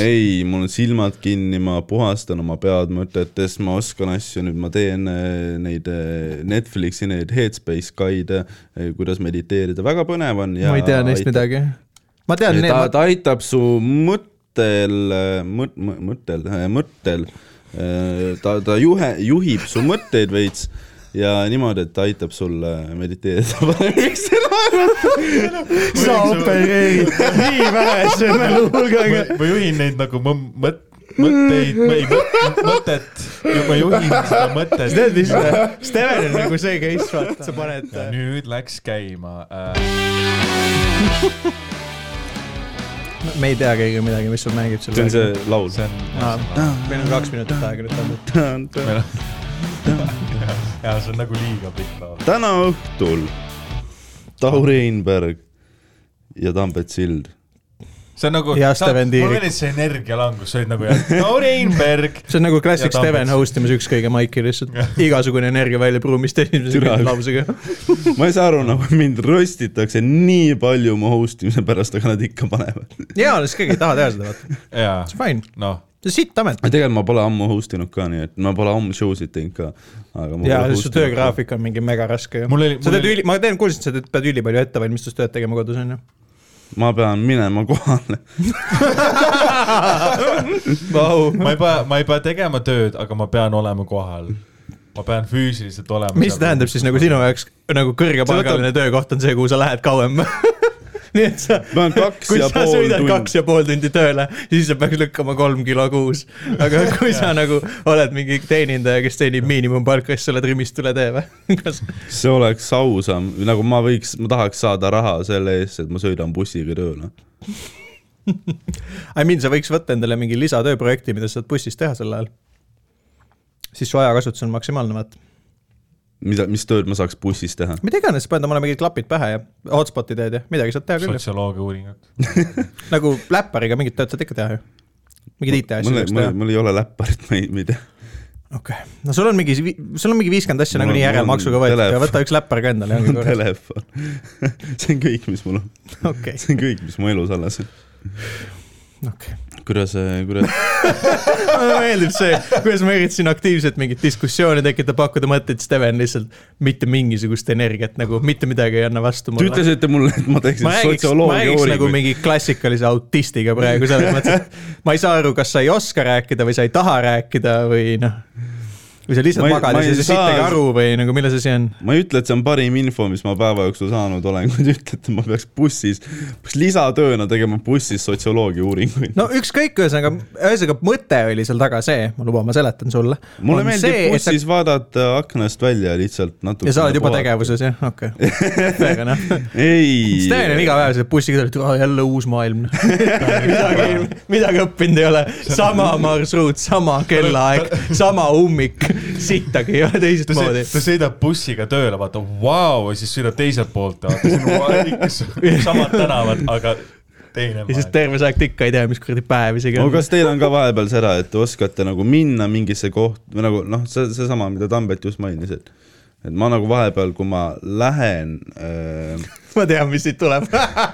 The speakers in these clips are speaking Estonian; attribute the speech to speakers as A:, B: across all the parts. A: ei , mul on silmad kinni , ma puhastan oma pead mõtetest , ma oskan asju , nüüd ma teen eh, neid eh, Netflixi neid Headspace guide , kuidas mediteerida , väga põnev on ja
B: ma ei tea neist
A: aitab-
B: midagi . ma tean ,
A: ta ,
B: ma...
A: ta aitab su mõttel , mõt- , mõttel , mõttel , ta , ta juhe , juhib su mõtteid veits ja niimoodi , et ta aitab sul eh, mediteerida paremaks .
B: sa opereerid nii vähese mälupulgaga .
C: ma juhin neid nagu mõ- mõt- , mõtteid , ei mõt- , mõtet , ma juhin seda mõtet .
B: tead , mis Steven on nagu see case , vaata , sa paned
C: ja nüüd läks käima äh, .
B: me ei tea keegi midagi , mis sul mängib seal .
A: see on see laul .
C: see on
B: Aa.
C: no. ,
B: meil on kaks minutit aega nüüd pandud .
C: meil on ja see on nagu liiga pikk laul .
A: täna õhtul Tauri Einberg ja Tambet Sild .
C: see on nagu .
B: Ja Steven Tiirik.
C: mul oli see energialangus , see oli nagu jah , Lauri Einberg .
B: see on nagu
C: Ja
B: klassik
C: Tambets.
B: Steven host imas ükskõige maiki lihtsalt , igasugune energia välja pruumist esimese
A: Türa.
B: lausega .
A: ma ei saa aru , nagu mind röstitakse nii palju mu host imise pärast , aga nad ikka panevad .
B: jaa , sest keegi ei taha teha seda , vaata .
C: jaa ,
B: see on fine ,
C: noh ,
B: see on sitt amet .
A: tegelikult ma pole ammu host inud ka , nii et ma pole ammu show sid teinud ka .
B: jaa , su töögraafik on mingi mega raske ju .
C: Mul oli-
B: sa
C: mul
B: teed
C: oli-
B: üli , ma tean , kuulsin , sa teed , pead üli palju ettevalmistustööd tegema kodus , onju .
A: ma pean minema kohale .
B: Vau .
C: ma ei pea , ma ei pea tegema tööd , aga ma pean olema kohal . ma pean füüsiliselt olema .
B: mis tähendab siis nagu sinu jaoks nagu kõrgepalgaline töökoht on see , kuhu sa lähed kauem ? nii et sa ,
A: ma olen kaks
B: kui
A: ja
B: sa
A: pool
B: sõidad kaks
A: tundi .
B: ja pool tundi tööle , siis sa peaks lükkama kolm kilo kuus . aga kui sa nagu oled mingi teenindaja , kes teenib miinimumpalka , siis sa oled Rimist üle tee või ? kas ,
A: see oleks ausam , nagu ma võiks , ma tahaks saada raha selle eest , et ma sõidan bussiga tööle .
B: I mean , sa võiks võtta endale mingi lisatööprojekti , mida sa saad bussis teha sel ajal . siis su ajakasutus on maksimaalne , vaata .
A: mida , mis tööd ma saaks bussis teha ?
B: mida iganes , paned omale mingid klapid pähe ja hotspot'i teed ja midagi saad teha küll ju .
C: sotsioloogia uuringut .
B: nagu läppariga mingit tööd saad ikka teha ju . mingeid IT-asju
A: mul ei ,
B: saaks
A: mul ei ,
B: teha .
A: mul ei ole läpparit , ma ei , ma ei tea .
B: okei okay. , no sul on mingi , sul on mingi viiskümmend asja
A: Mul
B: nagunii
A: on- mul
B: järelmaksuga
A: on
B: võetud ja
A: telefon.
B: võta üks läppar ka endale ja
A: mul
B: ongi
A: on
B: korras .
A: telefon . see on kõik , mis mul on ,
B: okei ,
A: see on kõik , mis mu elus alles on .
B: okei .
A: kuidas , kuidas ,
B: mulle meeldib see , kuidas ma üritasin aktiivselt mingit diskussiooni tekitada , pakkuda mõtteid , Steven lihtsalt mitte mingisugust energiat nagu mitte midagi ei anna vastu
A: te
B: mulle .
A: ütlesite mulle , et ma teeksin
B: ma räägiks , ma
A: sotsioloogia
B: räägiks nagu
A: uuringuid .
B: mingi klassikalise autistiga praegu selles mõttes , et ma ei saa aru , kas sa ei oska rääkida või sa ei taha rääkida või noh . või sa
A: Ma
B: lihtsalt
A: ei-
B: magad
A: ma
B: ja
A: ei
B: sa ei saa
A: saa-
B: siit ega aru või nagu milles asi on .
A: ma ei ütle , et see on parim info , mis ma päeva jooksul saanud olen , kui te ütlete , ma peaks bussis , peaks lisatööna tegema bussis sotsioloogia uuringuid
B: no ükskõik , ühesõnaga , ühesõnaga mõte oli seal taga see , ma luban , ma seletan sulle .
A: mulle meeldib see, bussis sa... vaadata aknast välja lihtsalt natuke .
B: ja sa oled juba . tegevuses jah , okei okay. .
A: ei ,
B: Sten on iga päev selle bussiga tulnud , et "Ah, jälle uus maailm . midagi , midagi õppinud ei ole , sama marsruut , sama kellaaeg , sama ummik , sittagi ei ole teisest
C: ta
B: moodi
C: sõi- . ta sõidab bussiga tööle , vaata , vau , ja siis sõidab teiselt poolt , vaata , siin on vaja ikka s- samad tänavad , aga
B: ja
C: teine
B: siis
C: maailm .
B: terve see aeg ta ikka ei tea , mis kuradi päev isegi
A: no
B: on .
A: kas teil on ka vahepeal seda , et te oskate nagu minna mingisse kohta või nagu noh , see , seesama , mida Tambet just mainis , et et ma nagu vahepeal , kui ma lähen äh, ,
B: ma tean , mis siit tuleb .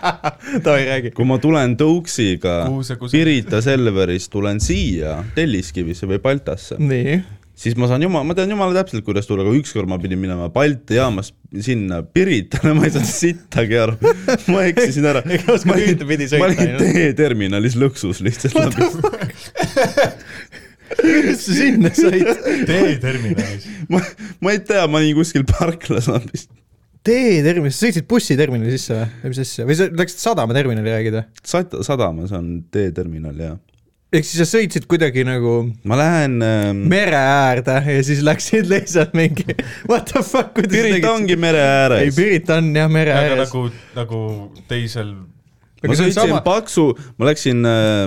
B: Tohi räägi .
A: kui ma tulen tõuksiga
C: Kuhu see- kus-
A: Pirita Selverist tulen siia Telliskivisse või Baltasse ,
B: nii ,
A: siis ma saan jumal , ma tean jumala täpselt , kuidas tulla , aga ükskord ma pidin minema Balti jaamast sinna Piritale , ma ei saanud sittagi aru . ma eksisin ära .
B: Ega oska ühtepidi sõita,
A: ma olin
B: ainult.
A: teeterminalis lõksus lihtsalt läbi .
B: kuidas sa sinna sõid ?
C: teeterminalis .
A: ma , ma ei tea , ma olin kuskil parklas hoopis .
B: teeterminal , sa sõitsid bussiterminali sisse või , või mis asja , või sa läksid sadama terminali räägida ?
A: Sat- , sadamas on teeterminal ja
B: ehk siis sa sõitsid kuidagi nagu
A: ma lähen ähm, .
B: mere äärde ja siis läksid lihtsalt mingi what the fuck , kuidas
A: Pirita ongi mere
B: ei ,
A: ääres .
B: Pirita on jah mere
C: aga
B: ääres .
C: nagu , nagu teisel ,
A: ma
B: aga see on
A: sõitsin sama... ,
B: sama
A: Paksu , ma läksin äh,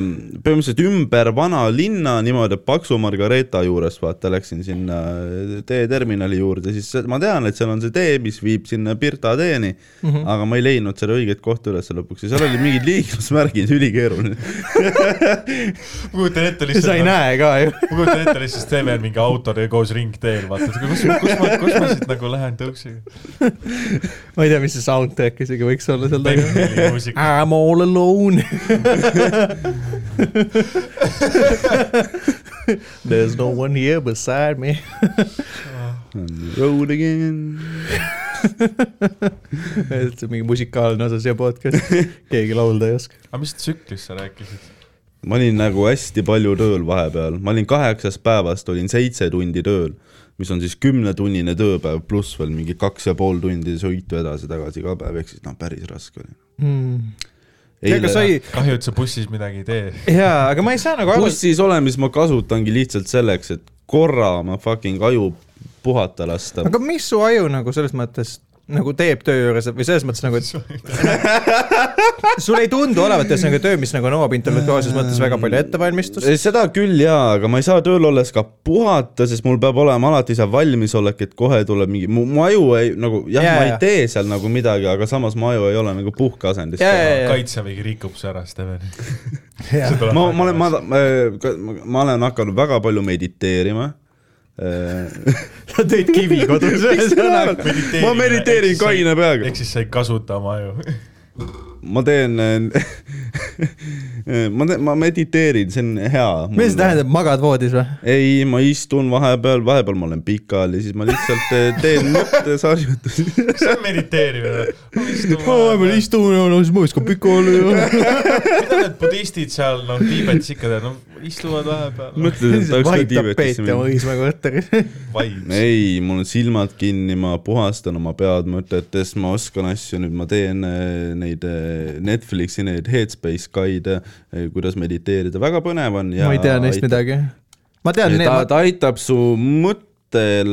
A: põhimõtteliselt ümber vana linna niimoodi , et Paksu Margareeta juures , vaata , läksin sinna äh, teeterminali juurde , siis see- ma tean , et seal on see tee , mis viib sinna Pirta teeni mm ,
B: Mhm.
A: -hmm. aga ma ei leidnud seda õiget kohta üles lõpuks ja seal olid mingid liiklusmärgid , ülikeeruline .
C: ma kujutan ette
B: sa ei
C: lihtsalt ,
B: näe ka ju .
C: ma kujutan ette lihtsalt , teeme mingi autodega koos ringteel , vaata , kus , kus ma , kus ma siit nagu lähen tõuksiga .
B: ma ei tea , mis see soundtrack isegi võiks olla seal taga .
C: muusika ,
B: I m all alone . There is no one here beside me .
A: On the road again .
B: see on mingi musikaalne osa siia podcast'i , keegi laulda ei oska .
C: aga mis tsüklist sa rääkisid ?
A: ma olin nagu hästi palju tööl vahepeal , ma olin kaheksast päevast olin seitse tundi tööl , mis on siis kümnetunnine tööpäev pluss veel mingi kaks ja pool tundi sõitu edasi-tagasi ka päev , ehk siis noh , päris raske oli .
C: Hmm.
B: tead , kas sa ei ,
C: kahju , et sa bussis midagi ei tee .
B: jaa , aga ma ei saa nagu aru ,
A: bussis olemist ma kasutangi lihtsalt selleks , et korra ma fucking aju puhata lasta .
B: aga mis su aju nagu selles mõttes nagu teeb töö juures või selles mõttes nagu , et sul ei tundu olevat ühesõnaga töö , mis nagu nõuab intellektuaalses mõttes väga palju ettevalmistust .
A: seda küll jaa , aga ma ei saa tööl olles ka puhata , sest mul peab olema alati see valmisolek , et kohe tuleb mingi , mu mu aju ei nagu jah
B: Jaa,
A: yeah, , ma
B: jaa.
A: ei tee seal nagu midagi , aga samas mu aju ei ole nagu puhkeasendis
B: Jaa, jaa, jaa.
C: kaitsevägi rikub su ära , Steven .
A: ma , ma olen , ma , ma, ma olen hakanud väga palju mediteerima . eh.
B: sa tõid kivi kodus nagu ühesõnaga .
A: ma mediteerin kaine peaga
C: ehk . siis sa ei kasuta oma aju .
A: ma teen , ma teen , ma mediteerin , see on hea .
B: mis see ? tähendab , magad voodis või ?
A: ei , ma istun vahepeal , vahepeal ma olen pikali , siis ma lihtsalt eh, teen mõttesarjutusi .
C: kas see on mediteerimine ?
B: istun ja no siis ma viskan pikali ja .
C: mida need budistid seal , noh , Tiibetis ikka teevad , noh , istuvad vahepeal , noh,
A: mõtled , et tahaks ka
B: vait
A: Tiibetisse
B: tapeeti oma
A: minna .
B: Õismäe korteris .
C: vaimus .
A: ei , mul on silmad kinni , ma puhastan oma pead mõtetest , ma oskan asju , nüüd ma teen eh, neid eh, Netflixi neid Headspace guide , kuidas mediteerida , väga põnev on ja
B: ma ei tea neist
A: aitab-
B: midagi . ma tean
A: ja ta ,
B: neid ,
A: ta aitab su mõttel ,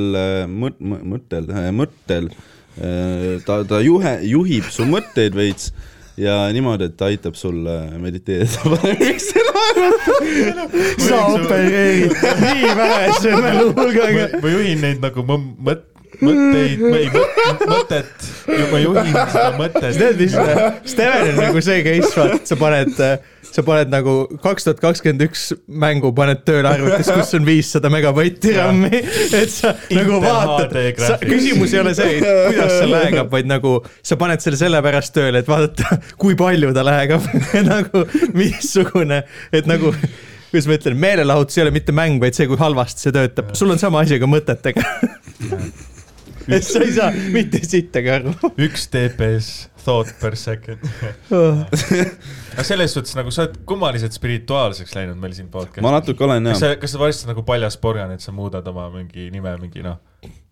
A: mõt- , mõttel , mõttel , ta , ta juhe , juhib su mõtteid veits ja niimoodi , et ta aitab sul eh, mediteerida paremaks .
B: sa opereerid nii vähese mäluhulgaga .
C: ma juhin neid nagu mõ- mõt- , mõtteid , ei mõt- mõtet , ma juhin seda mõtet .
B: tead , mis , Steven on nagu see case , vaat sa paned , sa paned nagu kaks tuhat kakskümmend üks mängu paned tööle arvutis , kus on viissada megabaiti RAM-i , et sa nagu
C: Intel
B: vaatad
C: HD ,
B: sa ,
C: graphics.
B: küsimus ei ole see , kuidas see läägab , vaid nagu sa paned selle sellepärast tööle , et vaadata , kui palju ta läägab nagu missugune , et nagu kuidas ma ütlen , meelelahutus ei ole mitte mäng , vaid see , kui halvasti see töötab , sul on sama asi ka mõtetega . et sa ei saa mitte sittagi aru .
C: üks TPS , thought per second .
A: Ah.
C: aga selles suhtes nagu sa oled kummaliselt spirituaalseks läinud meil siin
A: ma
C: podcast'is .
A: natuke olen
C: kas
A: jah ,
C: sa , kas sa varsti oled nagu paljas porgan , et sa muudad oma mingi nime mingi noh ,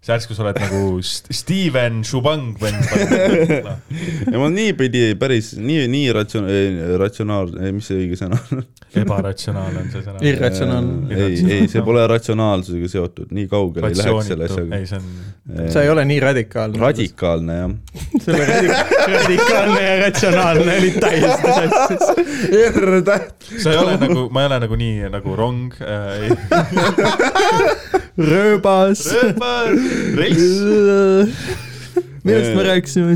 C: sa järsku sa oled nagu St- Steven Shubang või noh ,
A: ja ma niipidi päris nii , nii ratsiona- , ratsionaalne , mis see õige sõna on ?
C: ebaratsionaalne on see sõna .
B: irratsionaalne .
A: ei , ei , see pole ratsionaalsusega seotud , nii kaugele ei läheks selle
C: ratsioonitu ,
A: asjaga
C: ei . see on ,
B: sa ei ole nii radikaalne .
A: radikaalne jah .
B: selle radik- radikaalne ja ratsionaalne oli täiesti sassis .
A: R täht .
C: sa ei ole nagu , ma ei ole nagu nii nagu rong äh, , ei
B: rööbas .
C: reis .
B: millest me rääkisime ?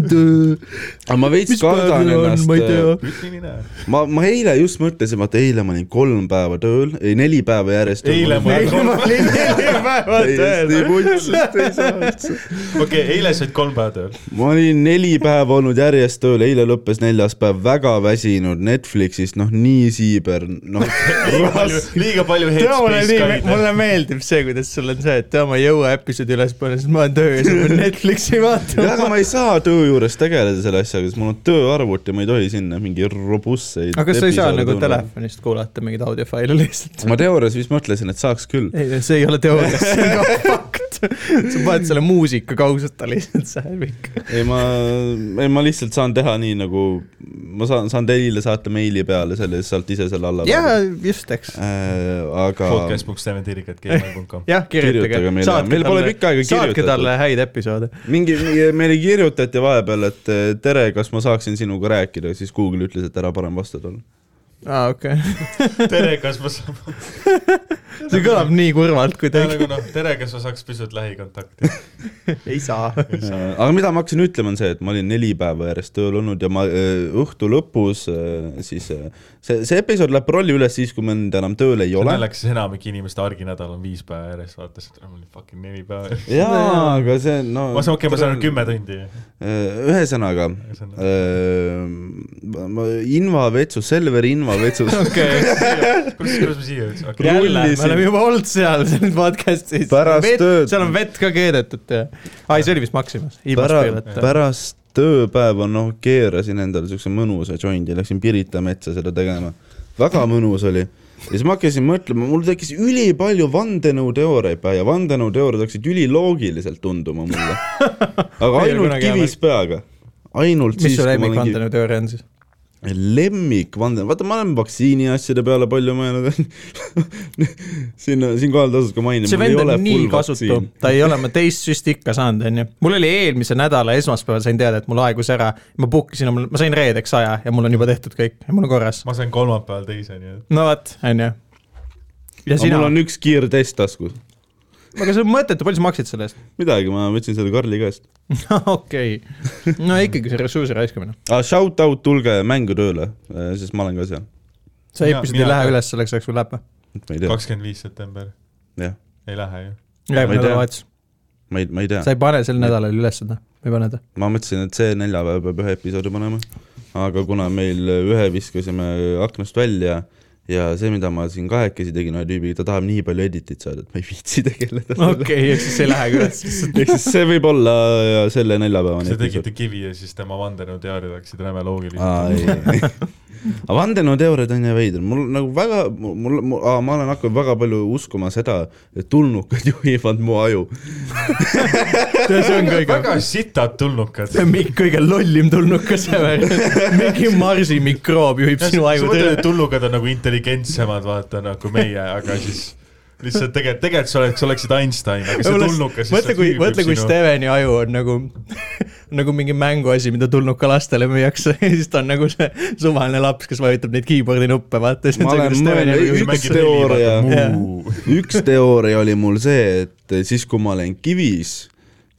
A: aga ma veits
B: mis päev
A: kardan
B: meil on ,
A: ennast .
B: ma ei tea .
A: ma , ma eile just mõtlesin , vaata eile ma olin kolm päeva tööl , ei neli päeva järjest .
C: Eile ma olin kolm-
B: olin neli päeva
A: täiesti vuntsust ei saa üldse .
C: okei , eile said kolm päeva tööl .
A: ma olin neli päeva olnud järjest tööl , eile lõppes neljas päev , väga väsinud Netflixist , noh nii siiber , noh
C: liiga palju
B: tea , mulle
C: headspace
B: nii ,
C: kaine .
B: mulle meeldib see , kuidas sul on see , et tea , ma ei jõua episoodi üles panna , sest ma olen töös , ma pean Netflixi
A: jah , aga
B: vaatama .
A: ma ei saa töö juures tegeleda selle asjaga , sest mul on tööarvuti , ma ei tohi sinna mingi robustseid .
B: aga kas sa ei saa nagu ? telefonist kuulata mingeid audiofaile lihtsalt ?
A: ma teoorias vist mõtlesin , et saaks küll .
B: ei , see ei ole teooria , see on ka fakt . sa paned selle muusika kausata lihtsalt , see hävib .
A: ei , ma , ei ma lihtsalt saan teha nii nagu , ma saan , saan teile saata meili peale selle , sealt ise selle alla .
B: jaa , just , eks .
A: äh, aga
C: podcast.steventirikatgmail.com
B: jah ,
A: Kirjutage
B: kirjutage
A: meile. Meil pole pikka aega
B: saatke
A: kirjutatud.
B: talle häid episoode .
A: mingi , meile kirjutati vahepeal , et eh, tere , kas ma saaksin sinuga rääkida , siis Google ütles , et ära parem vasta talle .
B: aa , okei .
C: tere , kas ma saan ,
B: see kõlab nii kurvalt kuidagi .
C: nagu noh , tere , kas ma saaks pisut lähikontakti .
B: ei saa .
A: Äh, aga mida ma hakkasin ütlema , on see , et ma olin neli päeva järjest tööl olnud ja ma öö, õhtu lõpus öö, siis öö, see , see episood läheb rolli üles siis , kui mind enam tööl ei ole .
C: naljakas , enamik inimeste arginädal on viis päeva järjest , vaata , siis mul oli fucking neli päeva .
A: jaa , aga see on no, .
C: ma saan , okei , ma saan ainult kümme tundi .
A: ühesõnaga , Ehm, Inva vetsus , Selver Inva vetsus
B: okei ,
C: kuidas , kuidas ma siia jõudsin ? okei ,
B: jälle , me
A: Rullisin.
B: oleme juba olnud seal , selles podcast'is .
A: Pärast tööd.
B: seal on vett ka keedetud ja , ai , see oli vist Maximas .
A: pära- , pärast tööpäeva , noh , keerasin endale siukse mõnusa jondi , läksin Pirita metsa seda tegema . väga mõnus oli . ja siis ma hakkasin mõtlema , mul tekkis ülipalju vandenõuteooriaid pähe ja vandenõuteooriad hakkasid üliloogiliselt tunduma mulle . aga
B: ole
A: ainult
B: kunagi
A: kivis peaga . ainult
B: mis
A: siis ,
B: su
A: kui ma olen kivis .
B: lemmikvandenõuteooria on siis ?
A: lemmikvandenõu , vaata , ma olen vaktsiiniasjade peale palju mõelnud . siin , siinkohal tasub ka mainida .
B: see vend on nii kasutu , ta ei ole , ma teist süsti ikka saanud , onju . mul oli eelmise nädala esmaspäeval sain teada , et mul aegus ära , ma book isin , ma sain reedeks aja ja mul on juba tehtud kõik ja mul on korras .
C: ma sain kolmapäeval teise , nii et
B: no vot , onju . ja
A: aga
B: sina
A: mul , on üks kiirtest taskus .
B: aga see on mõttetu , palju sa maksid selle eest ?
A: midagi , ma võtsin selle Karli käest .
B: okei , no ikkagi see ressursi raiskamine .
A: aga Ah, shout out , tulge mängu tööle , sest ma olen ka seal .
B: see
C: Mina-
B: episood
C: mina
B: ei lähe
C: ka.
B: üles selleks ajaks , kui läheb või ?
A: ma ei tea ,
C: kakskümmend viis september ,
A: jah ,
C: ei lähe ju .
A: Ma ei
B: järgmine
A: tea.
B: nädalavahetus ,
A: ma ei , ma ei tea ,
B: sa ei pane sel nädalal üles seda , ei pane ta .
A: ma mõtlesin , et see neljapäev peab ühe episoodi panema , aga kuna meil ühe viskasime aknast välja ja see , mida ma siin kahekesi tegin ühe tüübiga , ta tahab nii palju editit saada , et ma ei viitsi tegeleda sellega .
B: okei , ehk siis see ei lähegi üles .
A: ehk siis see võib olla äh, selle neljapäevane
C: sa tegite . kivi ja siis tema vandenõuteooriad hakkasid räme loogilised .
A: aga vandenõuteooriad on ju veider , mul nagu väga , mul, mul , ma olen hakanud väga palju uskuma seda , et tulnukad juhivad mu aju .
B: see on kõige
C: väga sitad tulnukad .
B: see on mi- kõige lollim tulnukas ever . mingi marsi mikroob juhib sinu aju tööle .
C: tulnukad on nagu intelligentsemad , vaata nagu meie , aga siis lihtsalt tegelikult , tegelikult sa oled , sa oleksid Einstein , aga see tulnukas .
B: mõtle , kui , mõtle , kui . Steveni aju on nagu , nagu mingi mänguasi , mida tulnuka lastele müüakse ja siis ta on nagu see suvaline laps , kes vajutab neid keyboard'i nuppe , vaata .
A: Ma olen mõelnud- üks teooria- üks teooria oli mul see , et siis , kui ma olen kivis ,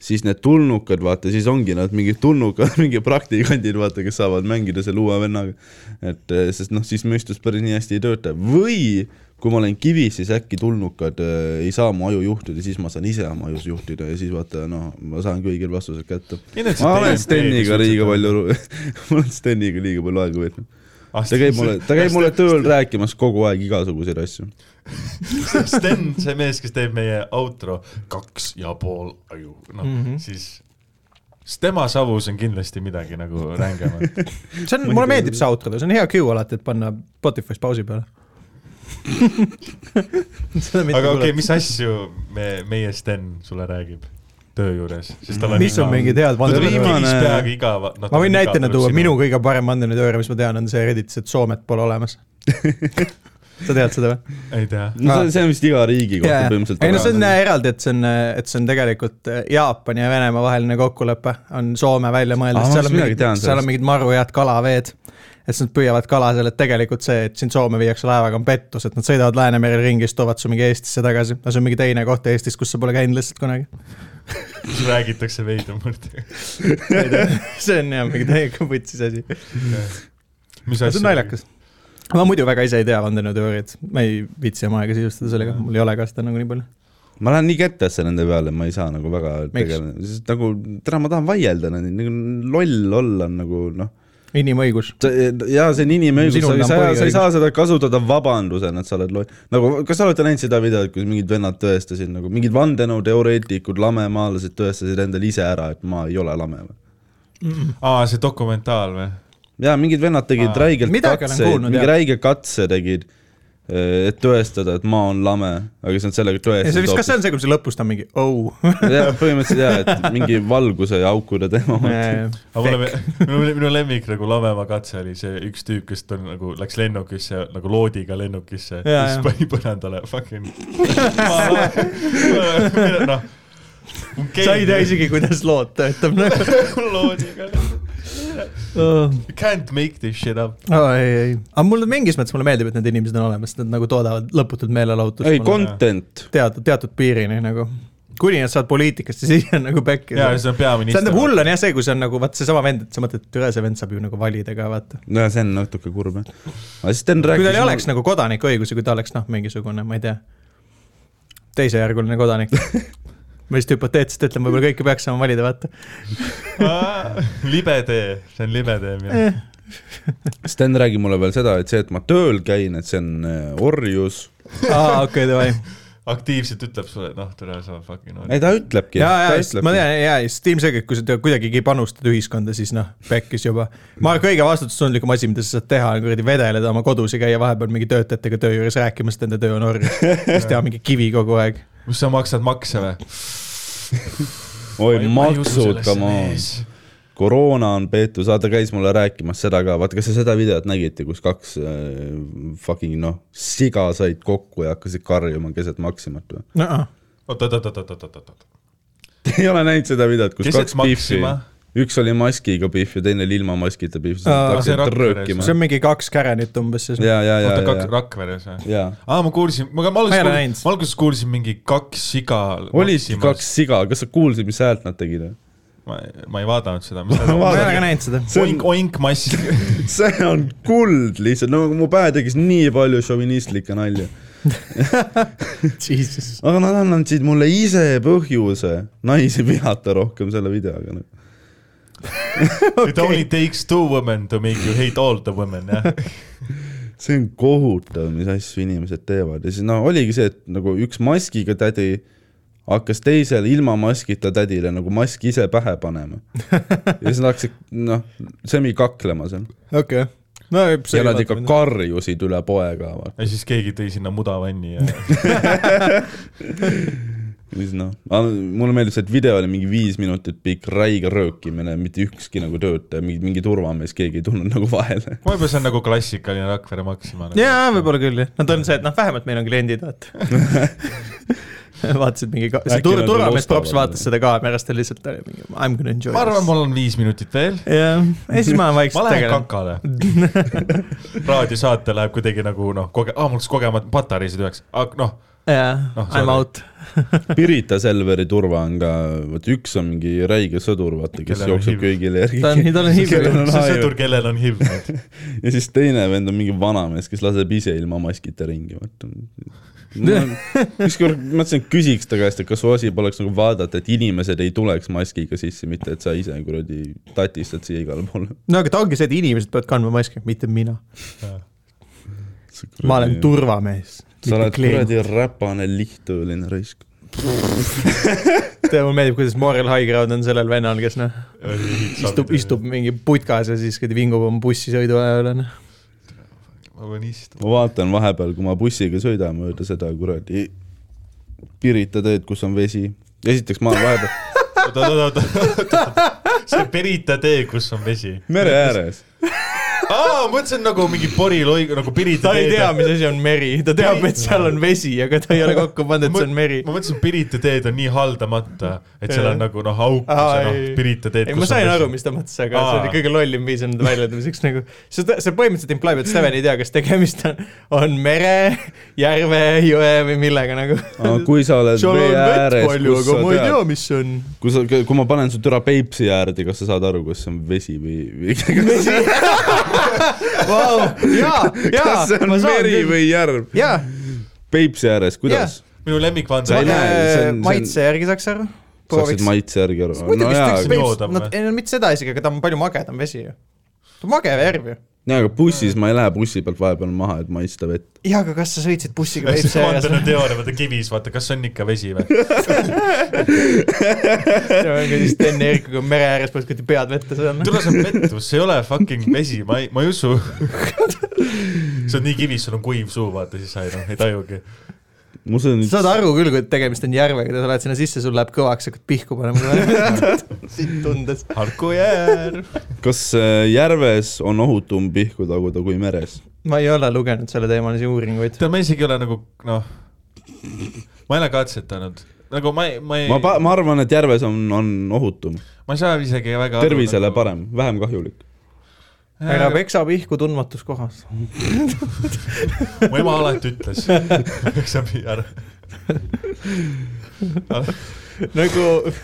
A: siis need tulnukad , vaata , siis ongi nad mingid tulnukad , mingi praktikandid , vaata , kes saavad mängida selle uue vennaga . et eh, sest noh , siis mõistus päris nii hästi ei tööta või kui ma olen kivis , siis äkki tulnukad eh, ei saa mu aju juhtida , siis ma saan ise oma ajus juhtida ja siis vaata , noh , ma saan kõigil vastused kätte . ma olen Steniga liiga . palju , ma olen Steniga liiga palju aega veetnud . ta käib mulle , ta käib mulle tööl rääkimas kogu aeg igasuguseid asju .
C: Sten , see mees , kes teeb meie outro kaks ja pool aju , noh mm -hmm.
B: Mhm.
C: siis , siis tema savus on kindlasti midagi nagu rängemat .
B: see on , mulle meeldib see outro , see on hea cue alati , et panna Spotify's pausi peale .
C: aga okei okay, , mis asju me , meie Sten sulle räägib töö juures , sest tal on
B: mis on mingid head
C: tal on
A: Viimane-
C: viimane... peaaegu igav no, .
B: ma võin näitena tuua , minu . kõige parem vandenõuteooria , mis ma tean , on see Redditis , et Soomet pole olemas . sa tead seda või ?
C: ei tea .
A: no see ,
B: Ah.
A: see on vist iga riigi kohta põhimõtteliselt .
B: ei no see on äh, eraldi , et see on , et see on tegelikult Jaapani ja Venemaa vaheline kokkulepe , on Soome välja
A: Aa,
B: mõeldud ,
A: Ah, ma
B: seal on
A: vist midagi
B: mingid
A: tean ,
B: seal
A: sellest.
B: on mingid maru head kalaveed . et siis nad püüavad kala seal , et tegelikult see , et sind Soome viiakse laevaga , on pettus , et nad sõidavad Läänemerel ringi , siis toovad su mingi Eestisse tagasi . no see on mingi teine koht Eestis , kus sa pole käinud lihtsalt kunagi .
C: räägitakse veidramalt .
B: see on jah , mingi täiega vutsis asi .
C: mis
B: see on naljakas . ma muidu väga ise ei tea vandenõuteooriat , ma ei viitsi oma aega sisustada sellega , mul ei ole ka seda nagu nii palju .
A: ma lähen nii kettesse nende peale , ma ei saa nagu väga
B: Miks?
A: tegeleda , sest nagu täna ma tahan vaielda , nagu loll olla on nagu noh ,
B: inimõigus .
A: jaa , see on inimõigus ,
B: Sinul
A: sa ei
B: on
A: saa , sa ei
B: põhiõigus.
A: saa seda kasutada vabandusena , et sa oled loll . nagu , kas sa olete näinud seda videot , kus mingid vennad tõestasid nagu , mingid vandenõuteoreetikud , lamemaalased tõestasid endale ise ära , et ma ei ole lame või ?
C: aa , see dokumentaal või ?
A: jaa , mingid vennad tegid
C: Aa,
A: räigelt
B: midagi olen
A: katseid ,
B: kuulnud,
A: mingi
B: jah.
A: räige katse tegid , et tõestada , et ma olen lame , aga siis nad sellega
B: ja see
A: tõestasid
B: vist , kas see on see , kui see lõpus ta on mingi oh .
A: jah , põhimõtteliselt jaa , et mingi valguse ja aukude teema .
C: aga mulle , minu , minu lemmik nagu Lavemaa katse oli see üks tüüp , kes tal nagu läks lennukisse nagu loodiga lennukisse ja,
B: Jaa,
C: ja siis
B: jaa.
C: pani põrandale fucking . noh . noh.
B: sa ei tea isegi , kuidas lood töötab nagu .
C: loodiga . You can't make this shit up .
B: Oh, ei , ei , aga mulle mingis mõttes mulle meeldib , et need inimesed on olemas , nad nagu toodavad lõputult meelelahutust .
A: ei , content .
B: teatud , teatud piirini nagu . kuni nad saavad poliitikasse , siis on nagu pekki .
C: jaa , see on peaminister .
B: tähendab , hull on jah see , kui see on nagu vaat seesama vend , et sa mõtled , et ühe see vend saab ju nagu valida ka vaata .
A: no see on natuke kurb jah . aga siis Sten
B: kui tal ei
A: rääkis
B: oleks . nagu kodanikuõigusi , kui ta oleks noh , mingisugune , ma ei tea , teisejärguline kodanik . ma lihtsalt hüpoteetiliselt ütlen , võib-olla kõike peaks saama valida , vaata .
C: libe tee , see on libe tee minu
B: Eh.
C: arust .
A: Sten räägib mulle veel seda , et see , et ma tööl käin , et see on äh, orjus .
B: aa , okei , davai .
C: aktiivselt ütleb sulle , et noh , tere , sa fucking oled .
A: ei , ta ütlebki .
B: ja , ja , sest ma tean , ja , sest ilmselgelt , kui sa te- kuidagigi panustad ühiskonda , siis noh , pekkis juba . ma arvan , kõige vastutustundlikum asi , mida sa saad teha , on kuradi vedeleda oma kodus ja käia vahepeal mingi töötajatega töö juures rääkimas , et nende töö on orjus . siis teha mingi kivi kogu aeg .
C: kus sa maksad makse või ?
A: oi , maksud , come on . koroona on peetud , ta käis mulle rääkimas seda ka , vaata , kas sa seda videot nägite , kus kaks äh, fucking noh , siga said kokku ja hakkasid karjuma keset Maximat või ?
B: no
C: oot , oot , oot , oot , oot , oot , oot , oot .
A: Te ei ole näinud seda videot , kus
C: Keset
A: kaks pihvi
C: Maxima? ,
A: üks oli maskiga pihv ja teine oli ilma maskita pihv , siis
B: Aa,
A: nad
C: see
A: hakkasid
C: Rakveres.
A: röökima
B: see . on mingi kaks kärenit umbes siis .
A: ja , ja , ja
C: oota ,, kaks
A: ja ,
C: Rakveres või ?
A: ja
C: aa , ma kuulsin , ma ka , ma
B: Ma ei ole
C: alguses kuulsin
B: näinud. ,
C: ma alguses kuulsin mingi kaks siga .
A: olidki kaks . siga , kas sa kuulsid , mis häält nad tegid või ?
C: ma , ma ei vaadanud seda .
B: ma
A: vaatan.
B: ei ole ka näinud seda .
A: See on-
C: oink , oink mass .
A: see on kuld lihtsalt , no mu pähe tegis nii palju šovinistlikke nalju .
B: Jesus .
A: aga nad andsid mulle ise põhjuse naisi vihata rohkem selle videoga . noh.
C: It only takes two women to make you hate all the women , jah .
A: see on kohutav , mis asju inimesed teevad ja siis no oligi see , et nagu üks maskiga tädi hakkas teisele ilma maskita tädile nagu maski ise pähe panema . ja siis nad hakkasid noh , semikaklema seal
B: okei . no
A: ja nad ikka . karjusid üle poe ka vaata .
C: ja siis keegi tõi sinna mudavanni ja
A: ja siis noh , mulle meeldis , et video oli mingi viis minutit pikk , räige röökimine , mitte ükski nagu töötaja , mingi , mingi turvamees , keegi ei tulnud nagu vahele .
C: võib-olla see on nagu klassikaline Rakvere Maxima .
B: jaa , võib-olla küll jah . Nad on see , et noh , vähemalt meil on kliendid , vaata . vaatasid mingi , see
A: Äkki
B: tur-
A: nad ,
B: turvamees
A: ostavad
B: props vaatas seda kaamerast ja lihtsalt oli mingi I m gonna enjoy
C: ma arvan , mul on viis minutit veel .
B: jah , ja siis ma olen
C: ma
B: vaikselt
C: lähen
B: tegelenud .
C: kakale . raadiosaate läheb kuidagi nagu noh , koge- , aa mul läks kogemata patareisid üheks , aga noh ,
B: jah ,
C: Noh,
B: I m
C: sorry.
B: out .
A: Pirita Selveri turva on ka , vot üks on mingi räige sõdur , vaata , kes
C: Kellel on
A: jookseb
C: HIV.
A: kõigile järgi .
B: ta on , tal
A: Kellel
B: on HIV .
A: on-
C: see
A: aju.
C: sõdur , kellel on HIV . noh.
A: ja siis teine vend on mingi vanamees , kes laseb ise ilma maskita ringi , vaata . ükskord mõtlesin , et küsiks ta käest , et kas su asi poleks nagu vaadata , et inimesed ei tuleks maskiga sisse , mitte et sa ise kuradi tatistad siia igale poole .
B: no aga ta ongi see , et inimesed peavad kandma maski , mitte mina . ma olen . turvamees .
A: sa oled kuradi räpane lihttööline raisk .
B: tead , mulle meeldib , kuidas moral high ground on sellel vennal , kes noh , istub , istub . mingi putkas ja siis kuradi vingub oma bussisõidu ajal , noh. onju .
C: ma pean istuma .
A: ma vaatan vahepeal , kui ma bussiga sõidan mööda seda kuradi Pirita teed , kus on vesi . esiteks ma olen vahepeal
C: oot , oot , oot , oot , oot , see Pirita tee , kus on vesi .
A: mere ääres .
C: aa , ma mõtlesin nagu mingi poriloig , nagu Pirita
B: ta ei
C: teed
B: tea ,. mis asi on meri , ta teab , et seal on vesi , aga ta ei ole kokku pannud , et see on meri .
C: ma mõtlesin , Pirita teed on nii haldamata , et seal on
B: Jah.
C: nagu noh , auk ,
B: Aa,
C: kus on noh
B: ei. ,
C: Pirita teed .
B: ei , ma sain aru , mis ta mõtles , aga Aa. see
C: Aa.
B: oli kõige lollim viis nende väljendamiseks nagu . see , see põhimõtteliselt impliib , et Steven ei tea , kas tegemist on , on mere , järve , jõe või millega nagu .
A: aga kui sa oled
B: seal on
A: vee
B: vett
A: ääres ,
B: palju ,
A: kus
B: aga
A: sa
B: ma ei
A: tead
B: tea , mis see on .
A: kui sa , kui ma panen su türa Peipsi äärde , kas sa saad aru , kas see on vesi või , või
B: Vau , jaa , jaa
A: kas see , on
B: ma saan
A: meri
B: küll .
A: või järv ?
B: jaa ,
A: Peipsi ääres , kuidas ?
C: minu lemmik Van
A: Sa ei
C: Zandt ,
A: näe, see on- see on-
B: maitse järgi saaks aru .
A: saaksid maitse järgi aru ? no
B: muidugi ,
A: jaa ,
B: sest
A: aga ,
B: üks
C: jooda
B: Peipsi ,
C: või?
B: ei no mitte seda isegi , aga ta on palju magedam vesi ju . ta on mage järv ju .
A: jaa , aga bussis ma ei lähe bussi pealt vahepeal maha , et maitsta vett .
B: jaa , aga kas sa sõitsid bussiga Peipsi ääres ?
C: vandenõuteooria , vaata kivis , vaata , kas on ikka vesi või ?
B: ja siis Sten ja Erik on mere ääres , paistab , et pead vette saanud .
C: tule , see on pettus , see ei ole fucking vesi , ma ei , ma ei usu . see on nii kivis , sul on kuiv suu , vaata , siis sa ei noh , ei tajugi .
A: ma usun ,
B: sa saad aru küll , kui tegemist on järvega , sa lähed sinna sisse , sul läheb kõvaks , hakkad pihku panema . siit tundes .
C: Harkujärv .
A: kas äh, järves on ohutum pihku taguda kui meres ?
B: ma ei ole lugenud selleteemalisi uuringuid .
C: tead , ma isegi ei ole nagu noh , ma ei ole katsetanud , nagu ma ei , ma ei ,
A: ma ,
C: ma,
A: ma arvan , et järves on , on ohutum ,
C: ma ei saa isegi väga . nagu-
A: tervisele . parem , vähem kahjulik .
B: ära peksa pihku tundmatus kohas .
C: mu ema alati ütles , eks sa pii ära .
B: nagu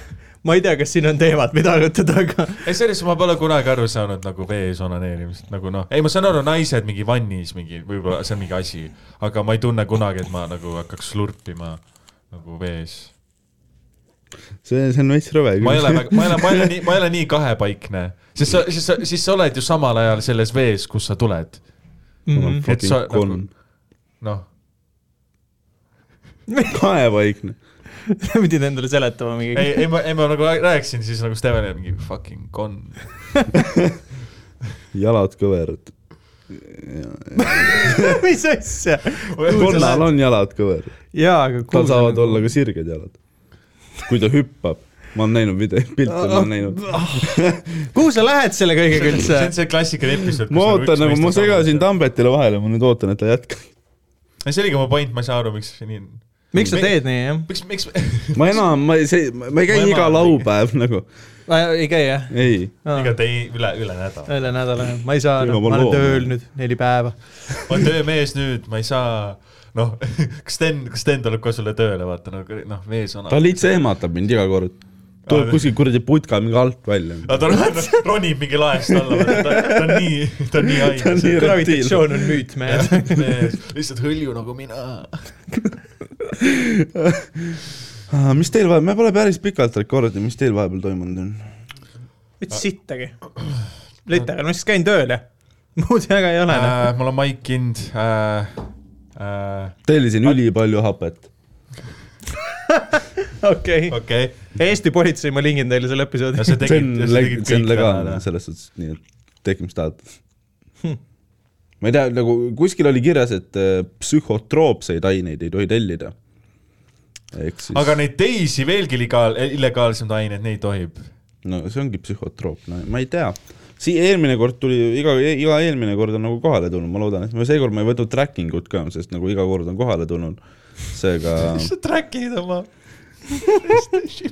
B: ma ei tea , kas siin on teemat , mida arutada , aga
C: ei , sellest ma pole kunagi aru saanud nagu vees onaneerimisest , nagu noh , ei , ma saan aru , naised mingi vannis mingi , võib-olla see on mingi asi , aga ma ei tunne kunagi , et ma nagu hakkaks slurpima nagu vees
A: see , see on veits rõve
C: ma ei ole
A: küll .
C: väga , ma ei ole , ma ei ole nii , ma ei ole nii kahepaikne , sest sa , siis sa , siis sa oled ju samal ajal selles vees , kus sa tuled ,
B: mm,
C: Et sa-
A: konn .
C: noh . nagu-
A: kaevaikne .
B: pidid endale seletama mingi .
C: ei , ei ma , ei ma nagu rääkisin siis nagu Stevenile mingi fucking con .
A: jalad kõverad .
B: mis asja ?
A: konnal on jalad kõverad .
B: jaa , aga . nagu-
A: tal saavad olla ka sirged jalad . kui ta hüppab . ma olen näinud videoid , pilte ma olen näinud .
B: kuhu sa lähed selle kõigega üldse
C: see ? on see klassikaline episood .
A: ma ootan nagu , ma segasin . Tambetile vahele , ma nüüd ootan , et ta jätkab .
C: see oligi mu point , ma ei saa aru , miks see nii on .
B: miks sa teed nii , jah ?
C: miks , miks ,
A: ma enam , ma ei , see , ma ei
C: Ma
A: käi
C: ei
A: iga
C: vaata.
A: laupäev nagu ,
B: ei käi , jah ?
A: ei .
C: ega tei- , üle , üle nädala .
B: üle nädala , ma ei saa ,
A: Küll
B: ma
A: ma
B: olen
A: loom.
B: tööl nüüd neli päeva .
C: ma olen töömees nüüd , ma ei saa , noh , kas Sten , kas Sten tuleb ka sulle tööle , vaata nagu noh , mees on .
A: ta Ah, lihtsalt ehmatab mind iga kord . tuleb kuskil kuradi putka mingi alt välja .
C: aga Ah, ta ron- ronib mingi laest alla , ta ta on nii , ta on nii
A: Ta on
C: haige .
A: nii
B: gravitatsioon on müüt , mehed .
C: lihtsalt hõlju nagu mina .
A: Ah, mis teil vahepeal , me pole päris pikalt rekordinud , mis teil vahepeal toimunud on ?
B: mitte sittagi . Litaal , ma siis käin tööl ja muud väga ei ole . noh.
C: ma olen Mike Kind äh, . Äh,
A: tellisin ülipalju hapet .
B: okei ,
C: okei okay. ,
B: Eesti politsei , ma lingin teile selle episoodi
C: ja . sa
A: see
C: tegid
A: on ,
C: sa
A: leg-
C: tegid ,
A: see on
C: kõik noh.
A: legaalne selles suhtes , nii et tehke , mis tahad ma ei tea , nagu kuskil oli kirjas , et äh, psühhotroopseid aineid ei tohi tellida . ehk siis ,
C: aga neid teisi veelgi ligaal- , illegaalsemaid aineid , neid tohib .
A: no see ongi psühhotroopne , ma ei tea . Sii- , eelmine kord tuli , iga , iga eelmine kord on nagu kohale tulnud , ma loodan , et ma seekord ma ei võtnud tracking ut ka , sest nagu iga kord on kohale tulnud . seega
C: sa track'id oma ,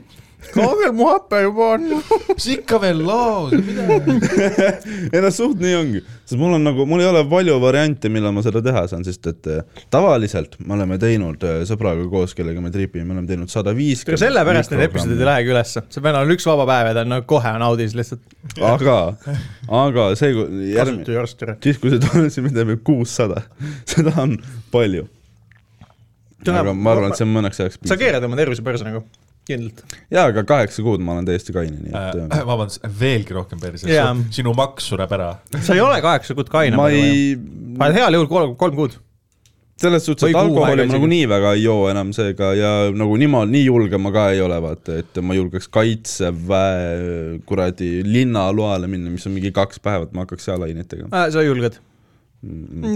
B: kaugel mu hape juba on .
C: mis ikka veel laos , Äh, mida .
A: ei no suht nii ongi , sest mul on nagu , mul ei ole palju variante , millal ma seda teha saan , sest et eh, tavaliselt me oleme teinud eh, sõbraga koos , kellega me tripime , me oleme teinud sada
B: ega
A: viiskümmend .
B: sellepärast need episoodid ei . lähegi ülesse , see peab olema üks vaba päev ja ta on nagu kohe on audis lihtsalt .
A: aga , aga see , järgmine , siis kui see tuleb , siis me teeme kuussada , seda on palju . aga ma arvan , et see on mõneks ajaks
B: sa . keerad oma tervise perse nagu , kindlalt .
A: jaa , aga kaheksa kuud ma olen täiesti kaine , nii
B: Äh,
A: et eh,
C: äh, vabandust , veelgi rohkem perses
B: Jaa. ,
C: sinu maks sureb ära .
B: sa ei ole kaheksa kuud
A: eh,
B: kaine .
A: ma ei ,
B: ma olen heal juhul kolm , kolm kuud .
A: selles suhtes ,
B: Või
A: et
B: kuu aega
A: alkoholi ma
B: isegi.
A: nagunii väga ei joo enam seega ja nagu niimoodi , nii julge ma ka ei ole , vaata , et ma julgeks kaitseväe kuradi linnaloale minna , mis on mingi kaks päeva , et ma hakkaks seal ainet tegema .
B: Äh, sa julged .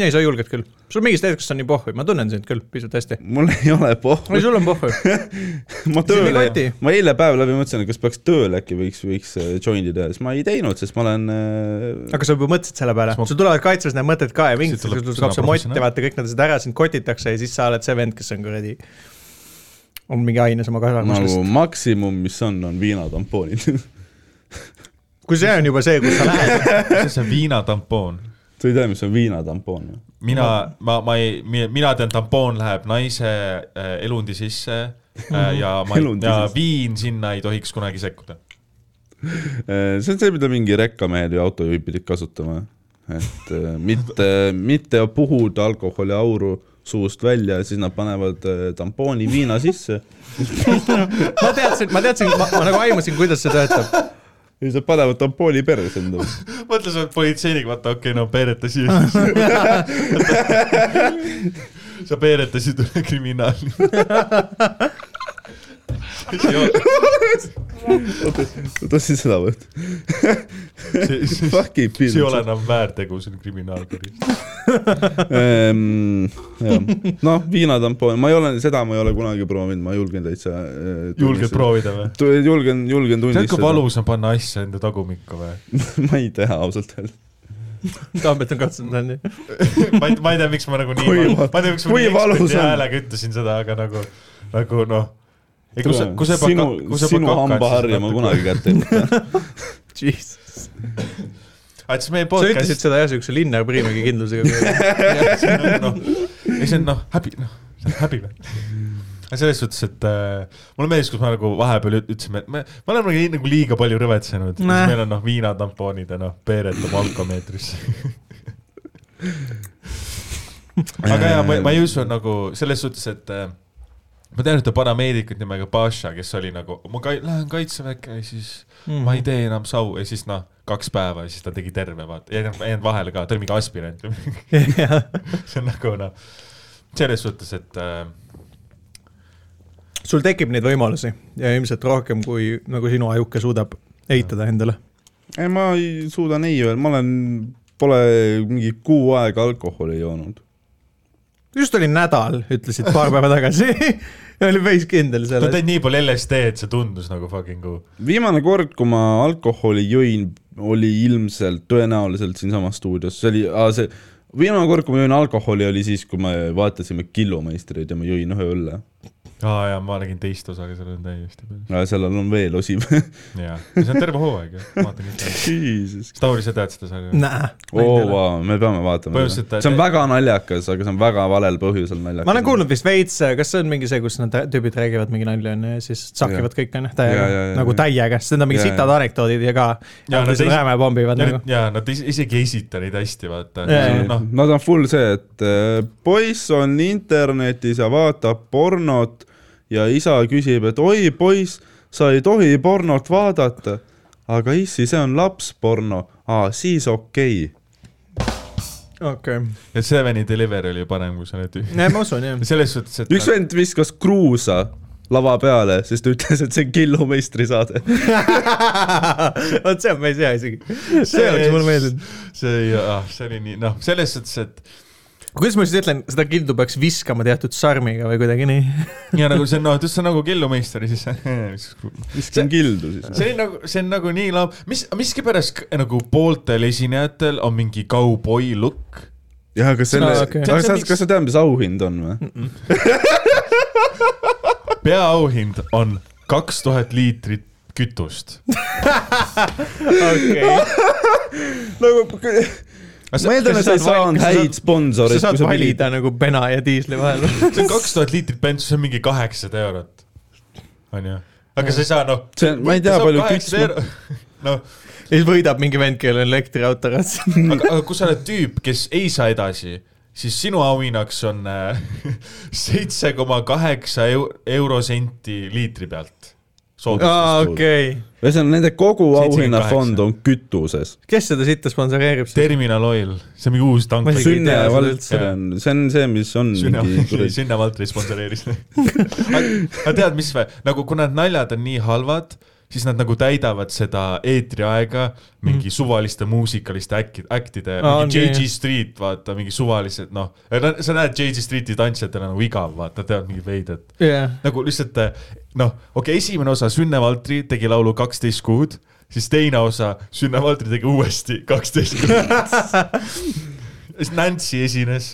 B: ei , sa julged küll . sul mingist hetkest on nii pohhu , ma tunnen sind küll pisut hästi .
A: mul ei ole pohhu
B: ei ,, sul on pohhu .
A: ma
B: sind ei
A: tööle
B: koti. ,
A: ma eile päev läbi mõtlesin , et kas peaks tööl äkki võiks , võiks äh, joint'i teha , siis ma ei teinud , sest ma olen äh,
B: aga sa juba mõtlesid selle peale
C: Siis ma- ,
B: sul tulevad kaitses need mõtted ka ja mingi
C: Siit tuleb
B: hetk
C: sõna
B: tuleb see mott ja
C: professionaal.
B: vaata kõik nad seda ära , sind kotitakse ja siis sa oled see vend , kes on kuradi , on mingi aines oma kasvamas
A: nagu
B: lihtsalt .
A: maksimum , mis on , on viinatampoonid .
B: kui see on juba see , kus sa lähed ,
C: see on see viinatampoon
A: sa ei tea , mis on viinatampoon või ?
C: mina , ma , ma ei , mina tean , tampoon läheb naise äh, elundi sisse äh, ja ma ei ,
A: Elundi
C: ja
A: sisse.
C: viin sinna ei tohiks kunagi sekkuda .
A: Äh, see on see , mida mingi rekkamehed või autojuhid pidid kasutama , et äh, mitte , mitte puhuda alkoholiauru suust välja , siis nad panevad äh, tampooni viina sisse
B: ma teadsin , ma teadsin , ma ma nagu aimasin , kuidas see töötab .
A: ja siis nad panevad tampooni perse endale .
C: mõtle , sa oled politseinik , vaata , okei okay, , no peereta siia . sa peeretasid üle kriminaali .
A: ma tahtsin seda võtta ,
C: see
A: fuck it .
C: ei ole enam väärtegu , see on kriminaalkuri .
A: Ehm, noh , viinatampoon , ma ei ole , seda ma ei ole kunagi proovinud , ma julgen täitsa .
C: julged ? proovida või ?
A: julgen , julgen
C: tead , kui
A: tunnistada .
C: valus on panna asja enda tagumikku või ?
A: ma ei tea ausalt öeldes .
B: Tambet on katsunud , on ju .
C: ma ei , ma ei tea , miks ma nagu nii ,
A: Kui
C: ma
A: va-
C: ei tea , miks ma
A: kui
C: nii
A: valus
C: eksperdi
A: on.
C: häälega ütlesin seda , aga nagu , nagu noh . ei , kui sa , kui sa
A: sinu , sinu hambaharja ma . kunagi kätte ei võta .
B: Jesus .
C: aga Ah, siis meie
B: sa
C: podcast
B: ütlesid seda jah , siukse Linnar Priimägi kindlusega .
C: jah, see on noh , ei see on noh , häbi , noh , see on häbiväärne . aga selles suhtes , et äh, mulle meeldis , kus me nagu vahepeal üt- ütlesime , et me , me oleme nii- nagu liiga palju rõvetsenud , siis
B: Nä.
C: meil on noh , viinatampoonid ja noh , peeretame alkomeetrisse . aga jaa , ma , ma ei usu nagu selles suhtes , et äh, ma tean ühte parameedikut nimega Paša , kes oli nagu , ma ka, lähen kaitseväkke ja siis mm. ma ei tee enam sau ja siis noh , kaks päeva ja siis ta tegi terve , vaata , ei jäänud ei jäänud vahele ka , ta oli mingi aspirant või mingi see on nagu noh , selles suhtes , et äh,
B: sul tekib neid võimalusi ja ilmselt rohkem , kui nagu sinu ajuke suudab eitada endale .
A: ei , ma ei suuda nii veel , ma olen , pole mingi kuu aega alkoholi joonud .
B: just oli nädal , ütlesid paar päeva tagasi . oli päris kindel
C: ta
B: selles .
C: tõi nii palju LSD-d , see tundus nagu fucking uh,
A: viimane kord , kui ma alkoholi jõin , oli ilmselt tõenäoliselt siinsamas stuudios , see oli , see viimane kord , kui ma jõin alkoholi , oli siis , kui me vaatasime killumeistreid ja ma jõin ühe õlle .
C: aa jaa , ma nägin teist osa , aga seal on täiesti peal .
A: sellel on veel osi .
C: jaa , see on terve hooaeg ju , vaatan ikka .
A: Jesus .
C: Tauri , sa tead seda sarja ?
B: näe .
A: oo , Oh, vau , me peame vaatama
C: Põhimõtteliselt
A: seda .
C: ta-
A: see on väga naljakas , aga see on väga valel põhjusel naljakas .
B: ma olen kuulnud vist veits , kas see on mingi see , kus need tüübid räägivad mingi nalja onju ja siis sakivad kõik onju ,
A: Ja, ja,
B: täiega
A: ja, ,
B: nagu
A: ja.
B: täiega , sest need on mingid
A: Ja, ja.
B: sitad anekdoodid ja ka . ja
C: Ja nad
B: nad siis
C: ei-
B: rääme pommivad nagu .
C: jaa , nad is- isegi ei esita neid hästi , vaata
B: Jaa, jaa. .
C: noh ,
A: Nad on full see , et äh, poiss on internetis ja vaatab pornot ja isa küsib , et oi poiss , sa ei tohi pornot vaadata . aga issi , see on lapsporno , aa siis okei okay. .
B: okei ,
C: et Seveni Delivery oli parem kui selle tüüp .
B: ma usun jah .
C: selles suhtes , et noh,
A: üks vend viskas kruusa lava peale , sest ta ütles , et see on Killu meistrisaade .
B: vot see on päris hea isegi . see oleks mulle meeldinud .
C: see , see oli nii , noh , selles suhtes , et
B: kuidas ma siis ütlen , seda kildu peaks viskama teatud sarmiga või kuidagi nii .
C: ja nagu see on , noh , et see on nagu killumeister ja siis
A: see on Kildu siis .
C: see oli nagu , see on nagu nii laam- , mis , miskipärast k- nagu pooltel esinejatel on mingi kauboi look .
A: jah , aga selle
B: Aa,
A: no, ,
B: okei.
A: okay. aga sa , kas sa tead , mis auhind on või ?
C: peaauhind on kaks tuhat liitrit kütust .
B: okei ,
A: nagu , ma eeldan , et sa ei saanud häid
B: sa
A: sponsoreid .
B: saad valida nagu pena ja diisli vahel .
C: see on kaks tuhat liitrit bensu , see on mingi kaheksasada eurot . onju , aga sa ei saa noh .
A: See on- ma ei tea, palju kütust- .
C: noh ,
B: ja siis võidab mingi vend , kellel on elektriauto ratas .
C: aga , aga kui sa oled tüüp , kes ei saa edasi , siis sinu auhinnaks on äh, seitse koma kaheksa eurosenti liitri pealt .
B: aa , okei .
A: ühesõnaga , nende kogu
C: 78.
A: auhinnafond on kütuses .
B: kes seda sitta sponsoreerib siis ?
C: Terminal Oil , see on mingi uus tank
B: Ma . ei Sünne-
A: Sünne
B: tea seda
A: vald ,
B: üldse.
A: see on , see on see , mis on mingi kuradi-
C: Sünna Valtri sponsoreeris . aga tead , mis või , nagu kuna need naljad on nii halvad , siis nad nagu täidavad seda eetriaega mingi suvaliste muusikaliste äkki , äktide
B: Mm. Aa, , on
C: mingi
B: küll,
C: JG
B: jah.
C: Street , vaata , mingi suvalised , noh . sa näed JG Streeti tantsijatel on nagu igav , vaata , teevad mingit veidet .
B: jah ,
C: nagu lihtsalt noh , okei okay, , esimene osa Sünne Valtri tegi laulu kaksteist kuud , siis teine osa Sünne Valtri tegi uuesti kaksteist kuud . siis Nancy esines .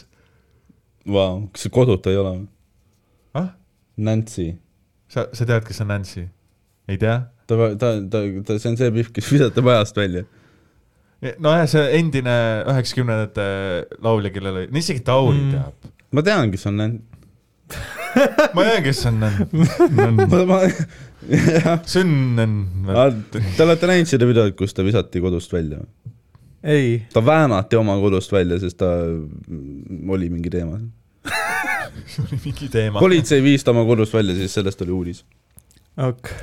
A: Vau , kas see koduta ei ole või ?
C: ah ,
A: Nancy ,
C: sa , sa tead , kes on Nancy ? ei tea ?
A: ta , ta , ta , ta , see on see pihv , kes visati majast välja .
C: nojah , see endine üheksakümnendate laulja , kellel oli , no isegi Tauri mm. teab .
A: ma tean , kes on Nan- ,
C: ma tean , kes on Nancy .
A: ma , ma ,
C: Sünnen .
A: Ah. te olete näinud seda videot , kus ta visati kodust välja või ?
B: ei .
A: ta väänati oma kodust välja , sest ta mm, oli mingi teema .
C: mingi teema .
A: politsei viis ta oma kodust välja , siis sellest oli uudis .
B: okei ,